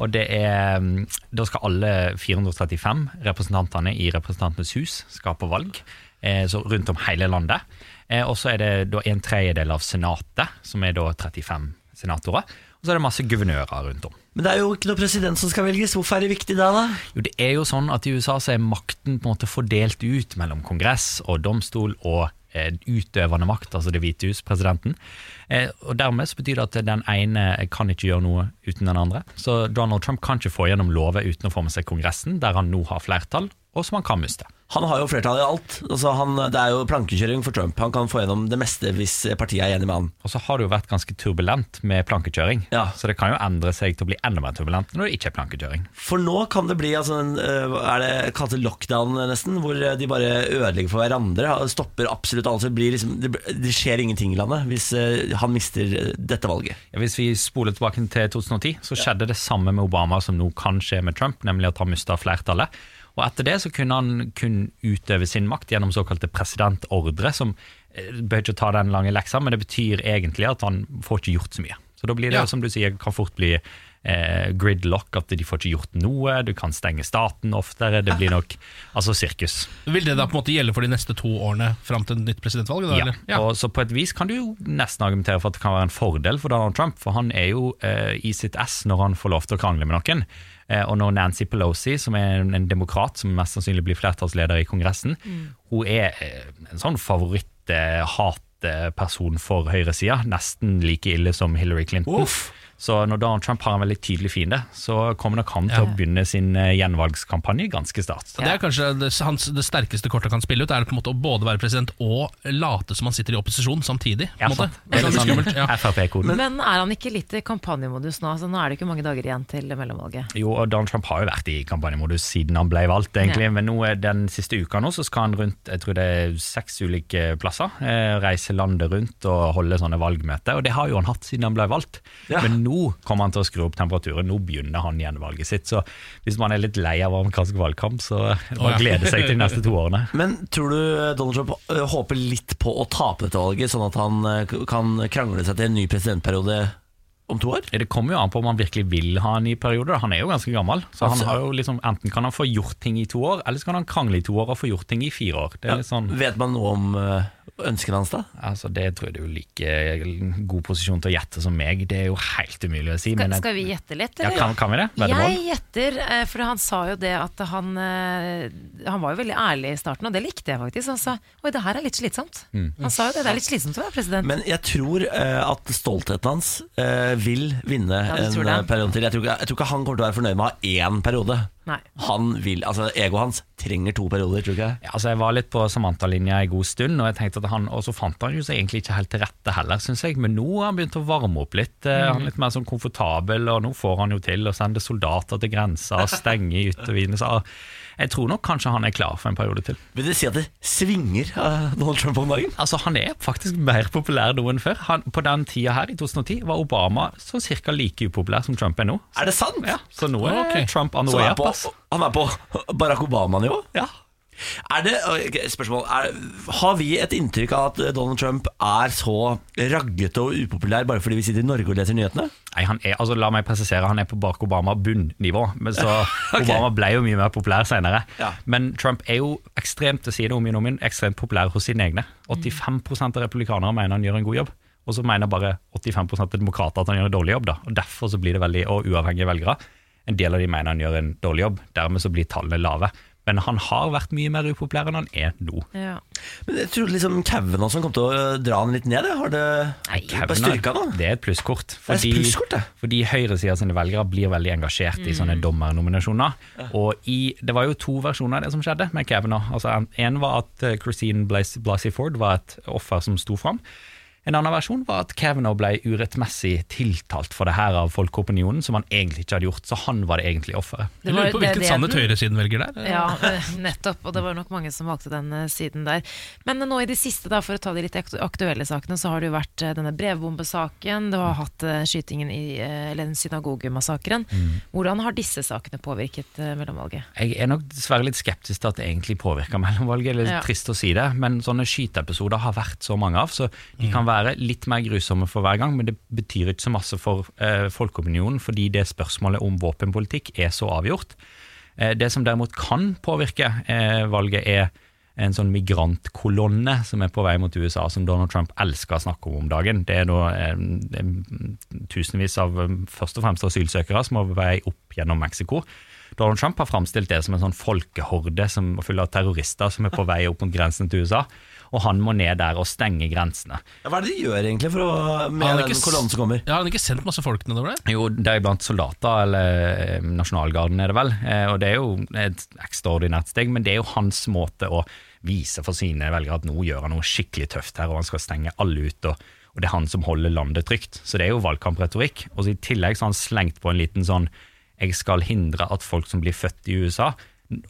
Og det er mm, Da skal alle 435 representantene i Representantenes hus skal på valg, eh, så rundt om hele landet. Eh, Og så er det da en tredjedel av senatet, som er da 35 senatorer. Og så er det masse guvernører rundt om.
Men det er jo ikke noe president som skal velges. Hvorfor er det viktig da? da?
Jo, det er jo sånn at i USA så er makten på en måte fordelt ut mellom kongress og domstol og eh, utøvende makt, altså Det hvite hus, presidenten. Eh, og Dermed så betyr det at den ene eh, kan ikke gjøre noe uten den andre. Så Donald Trump kan ikke få gjennom lover uten å få med seg Kongressen, der han nå har flertall, og som han kan miste.
Han har jo flertall i alt. Altså han, det er jo plankekjøring for Trump. Han kan få gjennom det meste hvis partiet er enig med han.
Og så har det jo vært ganske turbulent med plankekjøring,
Ja.
så det kan jo endre seg til å bli enda mer turbulent når det ikke er plankekjøring.
For nå kan det bli altså, en, eh, Er det kalt lockdown eh, nesten? Hvor eh, de bare ødelegger for hverandre. ha- Stopper absolutt alt. så Det, blir liksom, det, b- det skjer ingenting i landet hvis eh, han mister eh, dette valget.
Ja, Hvis vi spoler tilbake til 2010, så skjedde det samme med Obama som nå kan skje med Trump, nemlig at han mista flertallet. Og etter det så kunne han kun utøve sin makt gjennom såkalte presidentordre, som eh, behøver ikke å ta den lange leksa, men det betyr egentlig at han får ikke gjort så mye. Så da blir det
Ja.
jo som du sier, kan fort bli eh, gridlock, at de får ikke gjort noe, du kan stenge staten oftere, det blir nok altså sirkus.
Vil det da på en måte gjelde for de neste to årene fram til et nytt presidentvalg? Da,
Ja.
eller? Ja.
Og så på et vis kan du jo nesten argumentere for at det kan være en fordel for Donald Trump, for han er jo eh, i sitt ess når han får lov til å krangle med noen. Eh, og når Nancy Pelosi, som er en, en demokrat som mest sannsynlig blir flertallsleder i Kongressen,
Mm.
hun er eh, en sånn favoritt-hatperson for høyresida, nesten like ille som Hillary Clinton. Så når Donald Trump har en veldig tydelig fiende, så kommer nok han til å begynne sin eh, gjenvalgskampanje ganske snart.
Så Det er kanskje det, hans, det sterkeste kortet han kan spille ut, er på en måte å både være president og late som han sitter i opposisjon samtidig. På
Ja,
en måte.
sant.
Det er ganske
Eller
skummelt,
sånn
ja.
Frp-koden.
Men er han ikke litt i kampanjemodus nå? Altså, nå er det ikke mange dager igjen til mellomvalget.
Jo, og Donald Trump har jo vært i kampanjemodus siden han ble valgt, egentlig. Men nå eh, den siste uka nå så skal han rundt jeg tror det er seks ulike plasser. Eh, reise landet rundt og holde sånne valgmøter. Og det har jo han hatt siden han ble valgt.
Ja.
Men nå kommer han til å skru opp temperaturen. Nå begynner han gjenvalget sitt. Så hvis man er litt lei av amerikansk valgkamp, så er det bare
Å,
å
ja.
glede seg til de neste to årene.
Men tror du eh, Donald Trump eh, håper litt på å tape dette valget, sånn at han eh, k- kan krangle seg til en ny presidentperiode om to år?
Det kommer jo an på om han virkelig vil ha en ny periode. da. Han er jo ganske gammel. Så han
Altså-
har jo liksom, Enten kan han få gjort ting i to år, eller så kan han krangle i to år og få gjort ting i fire år. Det er litt sånn...
Vet man noe om eh, ønskene hans da?
Altså, Det tror jeg du er like god posisjon til å gjette som meg. Det er jo helt umulig å si.
Skal,
men jeg-
skal vi gjette litt,
ja,
eller?
kan, kan vi det?
Jeg
Veddemål?
gjetter, eh, for han sa jo det at han eh, Han var jo veldig ærlig i starten, og det likte jeg faktisk. Han sa oi, det her er litt slitsomt.
Mm.
Han sa jo det. Det er litt slitsomt å være president.
Men jeg tror eh, at stoltheten hans eh, vil vinne
du
en
tror
eh,
det.
periode til. Jeg tror, ikke, jeg tror ikke han kommer til å være fornøyd med å ha én periode.
Nei.
Han vil, altså Egoet hans trenger to perioder, tror du ikke? det?
Ja, altså, jeg var litt på Samantha-linja en god stund, og jeg tenkte at han, og så fant han jo seg egentlig ikke helt til rette heller, synes jeg. Men nå har han begynt å varme opp litt. Eh,
Mm.
Han er litt mer sånn komfortabel, og nå får han jo til å sende soldater til grensa og stenge yttervidene. Så ah, jeg tror nok kanskje han er klar for en periode til.
Vil det si at det svinger av Donald Trump om dagen?
Altså, Han er faktisk mer populær nå enn før. Han, på den tida her, i 2010, var Obama så ca. like upopulær som Trump er nå.
Er det sant?
Ja, så nå er
Ok.
Trump on the
Så
way
han er
up,
på,
ass.
han er på Barack Obama-nivå?
Ja.
Er det, ok, spørsmål er, Har vi et inntrykk av at Donald Trump er så raggete og upopulær bare fordi vi sitter i Norge og leser nyhetene?
Nei, han er, altså La meg presisere, han er på Barack Obama bunnivå. Men så
Ok.
Obama ble jo mye mer populær senere.
Ja.
Men Trump er jo ekstremt til side om igjen og om igjen, ekstremt populær hos sine egne. 85 av republikanere mener han gjør en god jobb. Og så mener bare 85 av demokrater at han gjør en dårlig jobb. da. Og Derfor så blir det veldig, og uavhengige velgere. En del av de mener han gjør en dårlig jobb. Dermed så blir tallene lave. Men han har vært mye mer upopulær enn han er nå.
Ja.
Men Jeg trodde liksom Kauen også kom til å eh, dra han litt ned. jeg. Har det bare
Kevner,
styrka nå?
Det er et plusskort.
er et plusskort, det. Mm.
fordi høyresida sine velgere blir veldig engasjert i sånne dommernominasjoner. Og i, Det var jo to versjoner av det som skjedde med Kavanaugh. Altså, en- en var at eh, Christine Blas Blasey Ford var et offer som sto fram. En annen versjon var at Kavanaugh ble urettmessig tiltalt for det her av folkeopinionen, som han egentlig ikke hadde gjort, så han var det egentlige offeret.
Jeg lurer på hvilken sannhet høyresiden velger der.
Ja, eh, nettopp. Og det var nok mange som valgte den eh, siden der. Men eh, nå i det siste, da, for å ta de litt aktu- aktuelle sakene, så har det jo vært eh, denne brevbombesaken, du har hatt eh, skytingen i eh, eller den synagogemassakren.
Mm.
Hvordan har disse sakene påvirket eh, mellomvalget?
Jeg er nok dessverre litt skeptisk til at det egentlig påvirker mellomvalget. Eller
Ja.
trist å si det, men sånne skyteepisoder har vært så mange av, så de kan være litt mer grusomme for hver gang, men det betyr ikke så masse for eh, folkeopinionen, fordi det spørsmålet om våpenpolitikk er så avgjort. Eh, det som derimot kan påvirke eh, valget, er en sånn migrantkolonne som er på vei mot USA, som Donald Trump elsker å snakke om om dagen. Det er da eh, det er tusenvis av eh, først og fremst asylsøkere som er på vei opp gjennom Mexico. Donald Trump har framstilt det som en sånn folkehorde som full av terrorister som er på vei opp mot grensen til USA, og han må ned der og stenge grensene.
Ja, Hva er det de gjør egentlig for å, med
Har han ikke
den
s-
kolonnen som kommer?
Ja, har han ikke sendt masse folk nedover der?
Jo, det er blant soldater, eller eh, nasjonalgarden er det vel, eh, og det er jo et ekstraordinært steg, men det er jo hans måte å vise for sine velgere at nå gjør han noe skikkelig tøft her, og han skal stenge alle ut, og, og det er han som holder landet trygt. Så det er jo valgkampretorikk, og så i tillegg så har han slengt på en liten sånn, jeg skal hindre at folk som blir født i USA,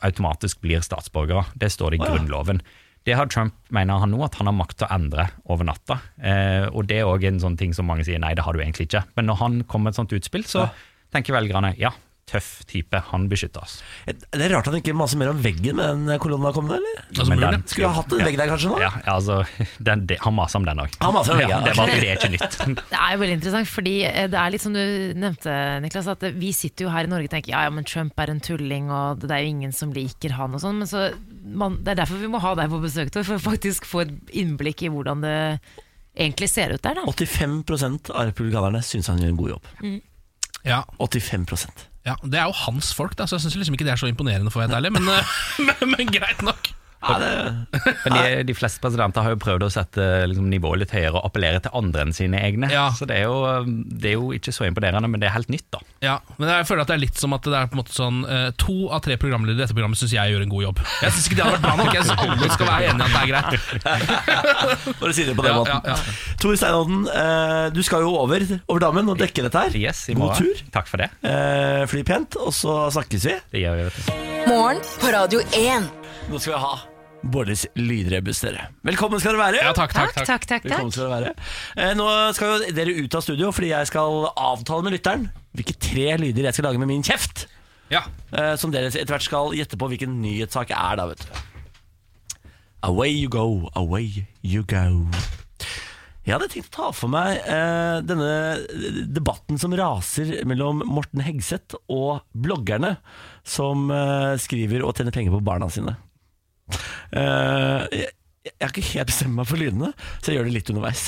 automatisk blir statsborgere. Det står det i
Å ja.
grunnloven. Det har Trump, mener han nå, at han har makt til å endre over natta. Eh, og det er òg en sånn ting som mange sier nei, det har du egentlig ikke. Men når han kommer med et sånt utspill, så tenker velgerne ja, tøff type, han beskytter oss.
Det er rart han ikke maser mer om veggen med den eh, kolonnen har kommet, eller?
Men
Men
den-
den- Altså, Skulle ha hatt en vegg der kanskje nå?
Ja, ja, altså, den, det, han maser om den òg.
Han maser om
ja,
veggen,
det,
ok.
var- det er ikke nytt.
Det er jo veldig interessant, fordi eh, det er litt som du nevnte, Niklas, at eh, vi sitter jo her i Norge og tenker ja, ja, men Trump er en tulling, og det er jo ingen som liker han og sånn, men så man, det er derfor vi må ha deg på besøk, Tor, for å faktisk få et innblikk i hvordan det egentlig ser ut der, da.
85 av republikanerne syns han gjør en god jobb.
Ja,
85
ja Det er jo hans folk, da, så jeg syns liksom ikke det er så imponerende, for å være helt ærlig, men, eh, men, men greit nok.
ja, det,
Men de, de fleste presidenter har jo prøvd å sette liksom, nivået litt høyere og appellere til andre enn sine egne.
Ja.
Så det er, jo, det er jo ikke så imponerende, men det er helt nytt, da.
Ja, men jeg føler at det er litt som at det er på en måte sånn eh, To av tre programledere i dette programmet syns jeg gjør en god jobb. Jeg syns ikke det hadde vært bra nok. Jeg synes alle skal være enige i at det er greit.
Bare si det på den
Ja,
måten.
ja, ja.
Tor Steinodden, eh, du skal jo over, over dammen og dekke dette her.
Yes, i
God
morgen.
tur.
Takk for det.
Eh, fly pent, og så snakkes vi.
Det gjør vi, vet du.
Morgen på Radio 1.
Nå skal vi ha Bårdis lydrebus, dere. Velkommen skal dere være.
Ja, takk, takk, takk.
takk, takk.
Velkommen skal dere være. Eh, nå skal jo dere ut av studio, fordi jeg skal avtale med lytteren hvilke tre lyder jeg skal lage med min kjeft.
Ja.
eh, som dere etter hvert skal gjette på hvilken nyhetssak er, da, vet du. Away you go, away you go. Jeg hadde tenkt å ta for meg eh, denne debatten som raser mellom Morten Hegseth og bloggerne som eh, skriver og tjener penger på barna sine. Eh, jeg, jeg har ikke helt bestemt meg for lydene, så jeg gjør det litt underveis.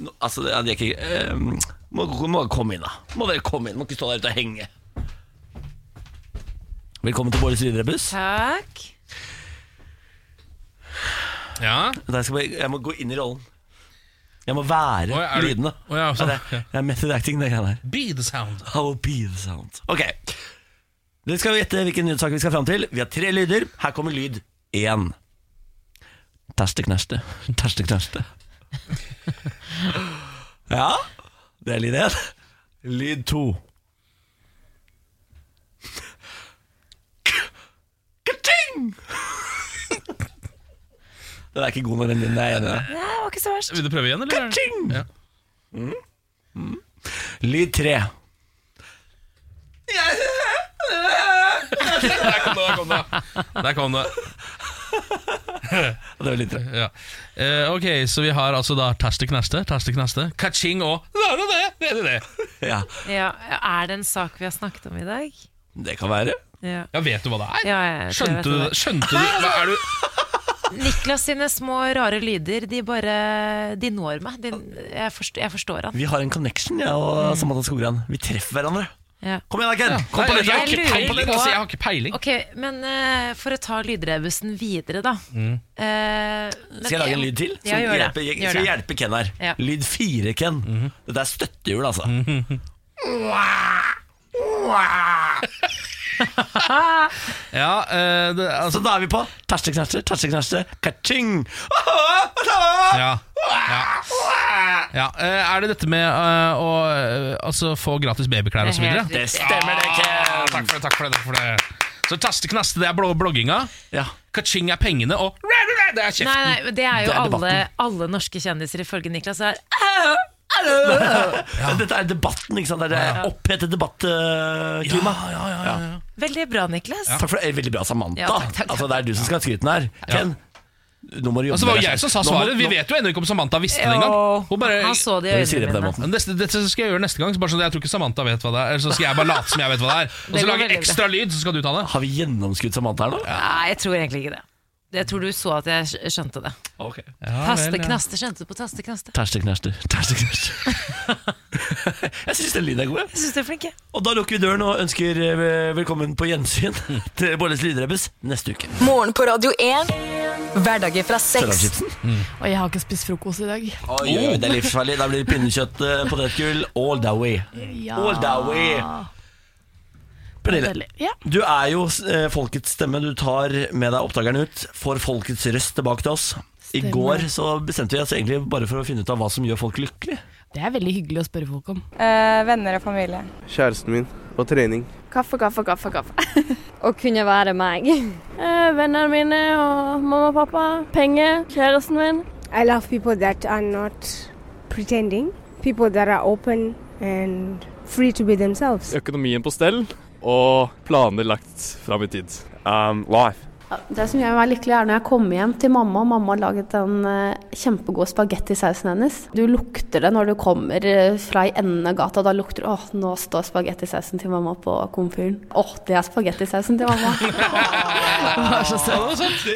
Nå, altså, det det er ikke eh, må, må komme inn, da. Må dere komme inn, må ikke stå der ute og henge. Velkommen til Bårdis lydrebus.
Takk.
ja.
Nei, Jeg, skal bare, jeg må gå inn i rollen. Jeg må være
Oi, er du-
lydende.
Oi, ja, sånn.
det, er- det er method acting, det greiene her.
Be the sound.
I will be the sound. Ok. Dere skal gjette hvilken nyhetssak vi skal fram til. Vi har tre lyder. Her kommer lyd én. Terste knerste. Terste knerste. Ja, det er lyd én. Lyd to. Ka-ting! Den er ikke god når den din er enig.
Nei, det var ikke så verst.
Vil du prøve igjen, eller?
Ka-ting!
Ja.
Mm. Lyd tre.
Der kom det, der kom det. Der kom det.
det var litt rart.
Ja. Eh, ok, så vi har altså da Terste Knerste, Terste Knerste, Kaching og Det er det, det er det, det.
Ja.
Ja, er det en sak vi har snakket om i dag?
Det kan være.
Ja.
ja, vet du hva det er?
Ja, jeg tror jeg
skjønte
vet
du
hva
det? Skjønte du
altså,
hva er du?
Niklas sine små rare lyder, de bare De når meg. De, jeg, forstår, jeg forstår han.
Vi har en connection, jeg og
Mm.
Samantha Skogran. Vi treffer hverandre.
Ja.
Kom igjen, da, Ken! Kom på
Nei, jeg
litt, da.
har ikke
Jeg lurer
peiling,
på-
altså, jeg har ikke peiling.
Ok, men eh, for å ta lydrebusen videre, da. Eh, men-
Mm. Skal jeg lage en lyd til?
Ja, gjør det.
hjelper, jeg,
Gjør
skal
det.
hjelpe Ken her.
Ja.
Lyd fire, Ken.
Mhm.
Dette er støttehjul, altså.
Ja, eh, det,
Så
altså
da er vi på tersteknerste, tersteknerste, kaching!
ja, ja. ja. eh, er det dette med eh, å eh, altså, få gratis babyklær og så videre?
Det stemmer det,
Ah,
Ken!
Takk for det, takk for det, takk for det. Så Terste Knaste, det er blå- blogginga.
Ja.
Kaching er pengene, og Altså, det er
Nei,
kjeften.
nei, men det er jo
Det er
alle,
debatten.
alle norske kjendiser ifølge Niklas er
Dette er debatten, ikke sant? Det er det opphetet debattklima.
Ja, ja, ja, ja, ja.
Veldig bra, Niklas.
Takk for det. Eh, Veldig bra, Samantha.
Ja, takk, takk, takk.
Altså, det er du som skal ha skryten her. Ken, nå må du jobbe
Altså, det var jo
deg
jeg som
selv.
sa
Nå må-
svaret. Vi
nå-
vet jo ennå ikke om Samantha visste det
Ja.
engang. Hun bare
Han så det
Når
i
vi sier det på
øynene
den
mine.
måten.
Men Neste, dette skal jeg gjøre neste gang. så Bare sånn at Jeg tror ikke Samantha vet hva det er. Så skal jeg bare late som jeg vet hva det er. Og
Det
så
går
lage
veldig bra.
ekstra lyd, så skal du ta det.
Har vi gjennomskudd Samantha her nå?
Nei, jeg tror egentlig ikke det. Jeg tror du så at jeg skj- skjønte det.
Ok.
Taste knaste, skjønte du på taste knaste?
Tersteknerste, tersteknerste. jeg syns den lyden er god, jeg.
Jeg syns du er flink, jeg.
Og da lukker vi døren og ønsker eh, velkommen på gjensyn til Bolles lydrebbes neste uke.
Morgen på Radio 1. Hverdager fra seks.
Sørlandschipsen.
Og jeg har ikke spist frokost i dag.
Oi, oi, det er livsfarlig. Da blir det pinnekjøtt, eh, potetgull, all that way.
Ja.
All that way. Pernille,
Deilig. Ja.
du er jo eh, folkets stemme. Du tar med deg oppdageren ut, får folkets røst tilbake til oss. I
Stemmer.
går så bestemte vi oss egentlig bare for å finne ut av hva som gjør folk lykkelig.
Det er veldig hyggelig å spørre folk om.
venner og familie.
Kjæresten min på trening.
Kaffe, kaffe, kaffe. kaffe.
Å kunne være meg.
Eh, vennene mine og mamma og pappa. Penger. Kjæresten min.
I love people that are not pretending. People that are open and free to be themselves.
Økonomien på stell og planer lagt fram i tid. Um, life.
Det som gjør meg lykkelig, er når jeg kommer hjem til mamma, og mamma har laget den eh, kjempegode spagettisausen hennes. Du lukter det når du kommer eh, fra i enden av gata. Da lukter du åh, nå står spagettisausen til mamma på komfyren. Åh, det er spagettisausen til mamma.
Det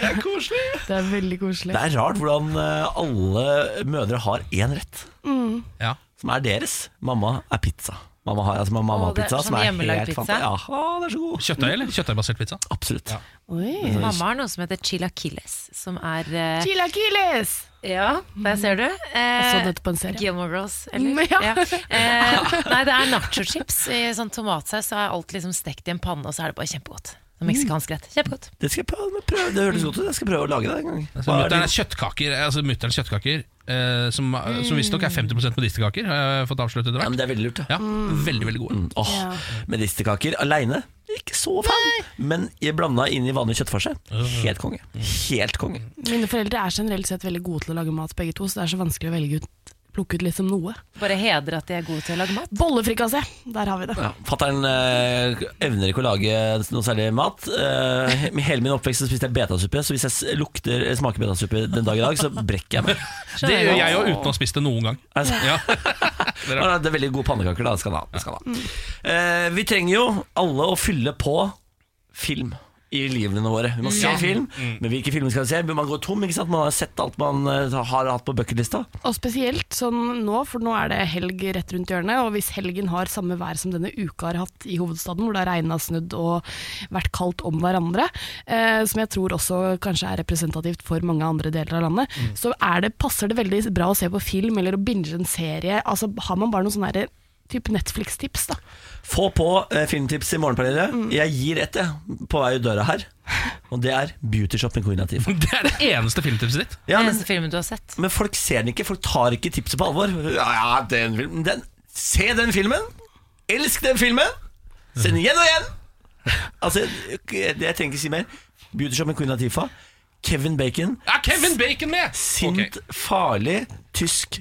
er koselig.
det er veldig koselig.
Det er rart hvordan eh, alle mødre har én rett,
Mm.
Ja.
som er deres. Mamma er pizza. Mamma har, altså, mamma
Å,
har
det er
pizza,
sånn
som er
hjemmelagd
helt
pizza?
fanta- Ja, å, det er så god.
Kjøttdeig eller kjøttdeigbasert pizza? Altså,
Absolutt.
Oi.
Mamma har noe som heter chilaquiles, som er eh,
Chilaquiles!
Ja, der ser du.
Jeg så
Eh,
dette på en serie. Mm,
Gilmore Girls, eller?
Ja.
Eh, nei, det er nachochips i sånn tomatsaus, så er alt liksom stekt i en panne, og så er det bare kjempegodt. Sånn Meksikansk rett. Kjempegodt.
Det skal jeg prøve, prøve. Det høres godt ut. Jeg skal prøve å lage det en gang.
Altså,
Hva er
Mutter'n
det-
er kjøttkaker, altså, mutterns kjøttkaker eh, som, eh, som visstnok er 50 medisterkaker, har jeg fått avsluttet etter
Ja, men
hvert.
det er veldig lurt, det.
Ja, veldig, veldig gode.
Mm, Åh, Medisterkaker aleine, ikke så fan. Men jeg blanda inn i vanlig kjøttfarse. Helt konge. Helt konge.
Mine foreldre er generelt sett veldig gode til å lage mat, begge to, så det er så vanskelig å velge ut, plukke ut liksom noe.
Bare hedre at de er gode til å lage mat.
Bollefrikassé, der har vi det.
Ja, Fattern eh, evner ikke å lage noe særlig mat. Eh, he- hele min oppvekst så spiste jeg betasuppe, så hvis jeg s- lukter, eller smaker betasuppe den dag i dag, så brekker jeg meg.
Det gjør jeg jo uten å ha spist det noen gang.
Altså,
Ja.
Ja, nei, det er veldig gode pannekaker, da. Det skal han ha. Det skal han ha. Eh, vi trenger jo alle å fylle på film i livene våre. Vi må se film, men hvilke filmer skal vi se? Man går tom, ikke sant? Man har sett alt man eh, har hatt på bucketlista.
Og spesielt sånn nå, for nå er det helg rett rundt hjørnet, og hvis helgen har samme vær som denne uka har hatt i hovedstaden, hvor det har regna, snudd og vært kaldt om hverandre, eh, som jeg tror også kanskje er representativt for mange andre deler av landet, så er det, passer det veldig bra å se på film eller å binge en serie. Altså har man bare noen sånne her type Netflix-tips, da.
Få på eh, filmtips i morgenpanelet. Jeg gir ett, jeg, på vei ut døra her. Og det er Beauty Shop med Queen Latifah.
Det er det eneste filmtipset ditt.
Ja, men,
Eneste filmen du har sett.
men folk ser den ikke. Folk tar ikke tipset på alvor. Ja, ja, den filmen den. Se den filmen! Elsk den filmen! Se den igjen og igjen! Altså, jeg, jeg trenger ikke si mer. Beauty Shop med Queen Latifah. Kevin Bacon.
Er Kevin Bacon med?!
Sint, farlig, tysk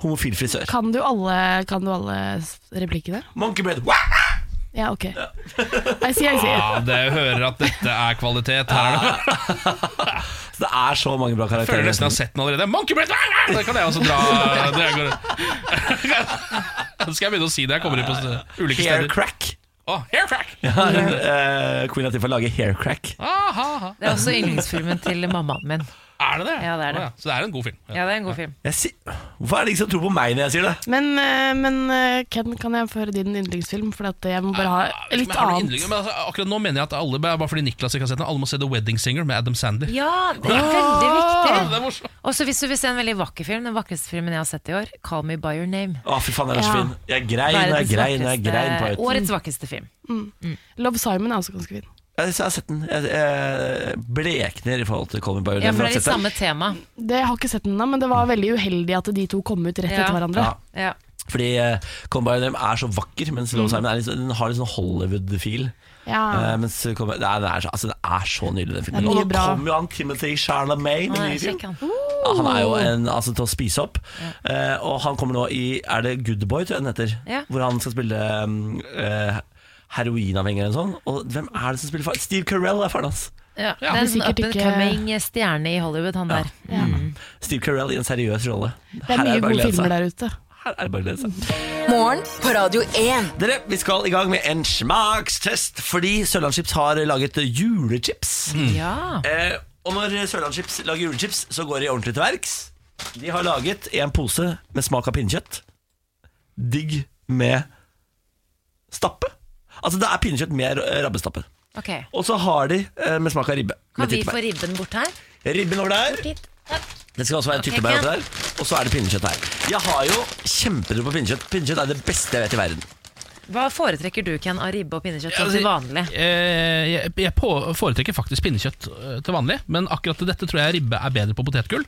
homofil frisør.
Kan du alle, kan du alle s- replikkene?
Monkey bread.
Ja, ok. I see, I see.
Ja, det hører at dette er kvalitet. Her er det.
Det er så mange bra karakterer.
Føler nesten jeg har sett den allerede. Monkey Breath! Da kan jeg også dra. Det er- Nå skal jeg begynne å si det. Jeg kommer inn på ulike steder.
Hair crack.
Å, hair crack.
Ja, hun, eh, Queen Latifah lager hair crack.
Det er også yndlingsfilmen til mammaen min.
Er det det?
Ja, det er det.
Å, ja. Så det er en god film.
Ja, det er en god film.
Jeg si Hvorfor er det ingen som tror på meg når jeg sier det?
Men, eh, men eh, Ken, kan jeg få høre din yndlingsfilm? For at jeg må bare ha litt
Men har du
annet.
innlegg- Men altså, akkurat nå mener jeg at alle bare fordi Niklas ikke har sett den, alle må se The Wedding Singer med Adam Sandler.
Ja, det er veldig viktig. Ah, Og så hvis du vil se en veldig vakker film, den vakreste filmen jeg har sett i år, 'Call Me By Your Name'.
Å, fy faen, jeg er så
Ja.
fin. Jeg grein, jeg
Verdens
grein, jeg
vakreste-
grein på et
Årets vakreste film.
Love Simon er også ganske fin.
Jeg har sett den. Jeg, jeg blekner i forhold til Call Me By Your Name. men jeg har sett den.
tema.
Det jeg har ikke sett den ennå, men det var veldig uheldig at de to kom ut rett etter hverandre.
Ja.
Fordi eh, Call Me By Your Name er så vakker, mens
Mm.
Love Simon er litt, den har litt sånn Hollywood-fil.
Ja.
Eh, mens Call Me- Nei, den, er så, altså, den er så nydelig, den filmen.
Ah. Det er
Og
mye
nå
bra.
kommer jo han Timothy Charlamagne med
Nei,
ny film.
sjekk han.
Ja, Han er jo en, altså, til å spise opp. Eh, og han kommer nå i Er det Good Boy, tror jeg den heter?
Ja.
Hvor han skal spille um, eh, heroinavhengig eller noe sånt. Og hvem er det som spiller faren? Steve Carell er faren hans.
Ja. Det
Ja.
er en
Men
sånn up
sikkert
and
ikke-
coming stjerne i Hollywood, han der.
Mm. Steve Carell i en seriøs rolle.
Det er mye gode filmer der ute.
Her er det bare å glede seg.
Morgen på Radio 1.
Dere, vi skal i gang med en smakstest, fordi Sørlandschips har laget julechips.
Mm.
Mm.
Ja.
Eh, og når Sørlandschips lager julechips, så går de ordentlig til verks. De har laget en pose med smak av pinnekjøtt. Digg med stappe. Altså, det er pinnekjøtt med eh, rabbestappe.
Ok.
Og så har de eh, med smak av ribbe.
Kan
med
vi
tyttebær.
få ribben bort her?
Ribben over der.
Bort hit.
Det skal også være
Ok,
tyttebær
Ken.
oppi der. Og så er det pinnekjøtt her. Jeg har jo kjempetro på pinnekjøtt. Pinnekjøtt er det beste jeg vet i verden.
Hva foretrekker du, Ken, av ribbe og pinnekjøtt
Ja,
sånn til vanlig?
Eh, jeg jeg på, foretrekker faktisk pinnekjøtt eh, til vanlig, men akkurat til dette tror jeg ribbe er bedre på potetgull.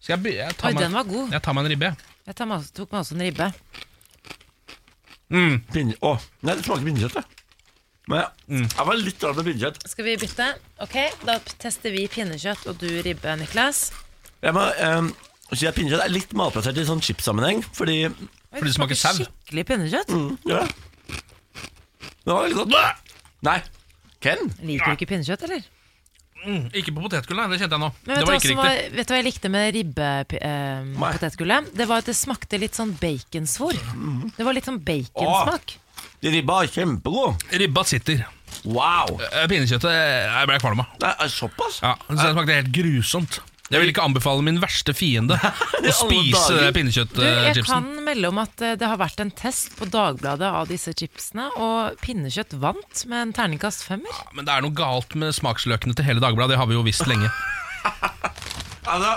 Så jeg, be- jeg, tar
Oi,
meg,
den var god.
jeg tar meg en ribbe.
Jeg tar med, tok meg også en ribbe.
Mm. Pinne, å, nei, det smaker pinnekjøtt, det. Men jeg,
Mm.
jeg var litt rar med pinnekjøtt.
Skal vi bytte? Ok, da tester vi pinnekjøtt og du ribbe, Niklas.
Jeg må um, si at pinnekjøtt er litt malplassert i sånn chipssammenheng, fordi
Fordi det smaker sau.
Skikkelig pinnekjøtt?
Mm, ja. Det var veldig godt. Nei. Ken?
Liker du ikke pinnekjøtt, eller?
Mm, ikke på potetgull, nei. Det kjente jeg nå.
Men
Det
vet,
var
du hva
ikke riktig.
som var, vet du hva jeg likte med ribbepotetgullet? det var at det smakte litt sånn baconsvor.
Mm.
Det var litt sånn baconsmak.
Ribba er kjempegod.
Ribba sitter.
Wow.
Eh, Pinnekjøttet eh, jeg ble kvalm av.
Det er såpass?
Ja, så det smakte helt grusomt. Jeg vil ikke anbefale min verste fiende å spise
dager.
eh,
Du, jeg kan
pinnekjøttchipsen.
melde om at eh, det har vært en test på Dagbladet av disse chipsene, og pinnekjøtt vant med en terningkast femmer.
Ja, Men det er noe galt med smaksløkene til hele Dagbladet, det har vi jo visst lenge.
Altså,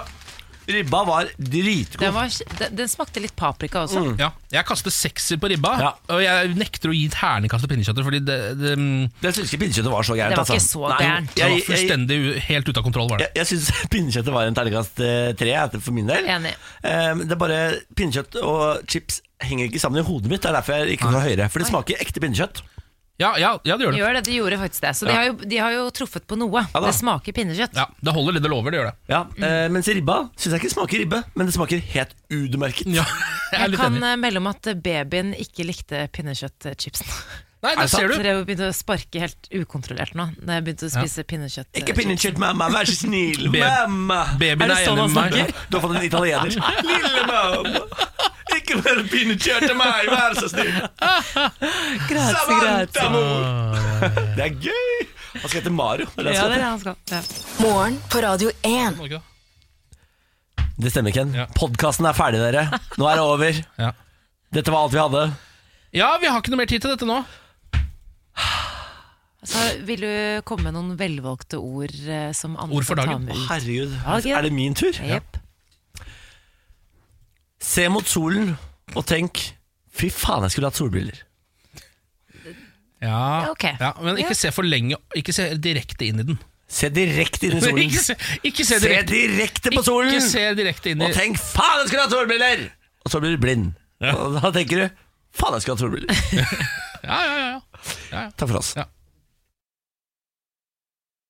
ribba var
Den,
dritgod.
var, den, den smakte litt paprika også.
Ja, jeg kaster sekser på ribba,
Ja.
og jeg nekter å gi terningkast til pinnekjøttet. Fordi det, det, mm,
Jeg syns ikke pinnekjøttet var så
Det
gærent.
var ikke
altså.
så
Nei,
gærent.
det var
Jeg, jeg,
fullstendig u- helt ute av kontroll. Var det.
jeg, jeg syns pinnekjøttet var en terningkast eh, tre jeg, for min del.
Enig.
Um, det er bare Pinnekjøtt og chips henger ikke sammen i hodet mitt. Det er derfor jeg ikke går høyere. For det smaker ekte pinnekjøtt.
Ja, ja, ja, det gjør det.
Gjør det, de gjorde faktisk det. Så de,
Ja.
har jo, de har jo truffet på noe.
Ja da.
det smaker pinnekjøtt.
Ja, det holder litt, det lover. Det gjør det.
Ja, eh, Mens ribba syns jeg ikke smaker ribbe, men det smaker helt utmerket.
Ja, jeg er
Jeg
litt
kan
enig.
eh, melde om at babyen ikke likte pinnekjøttchipsen.
Nei, der ser
Så
du.
jeg begynte å sparke helt ukontrollert nå, da jeg begynte å spise pinnekjøtt.
Ikke pinnekjøtt, mamma, vær så snill.
Be-
mamma. sånn
babyen er enig med meg.
Du har fått en italiener. Lille mamma. Ikke mer pinnekjøtt til meg, vær så snill. Samantha, mor. Det er gøy. Han skal hete Mario. Det, er det han
Ja,
skal
det er det
hete.
han skal. Ja.
Morgen på Radio 1.
Norge, da.
det stemmer, Ken.
Ja.
Podkasten er ferdig, dere. Nå er det over.
Ja.
Dette var alt vi hadde.
Ja, vi har ikke noe mer tid til dette nå.
Så vil du komme med noen velvalgte ord eh, som andre
Ord for
kan ta
dagen.
med ut?
Herregud,
Ja, Ken.
er det min tur?
Jepp.
Se mot solen og tenk Fy faen, jeg skulle hatt solbriller.
Ja,
Ok.
ja Men
Ja.
ikke se for lenge, ikke se direkte inn i den.
Se direkte inn i solen.
Ikke se, ikke se
Se
direkte
direkte på solen!
Ikke se direkte inn i
Og tenk 'faen, jeg skulle hatt solbriller'! Og så blir du blind. Og da tenker du 'faen, jeg skulle hatt solbriller'.
Ja, ja, ja, ja.
Takk for oss.
Ja.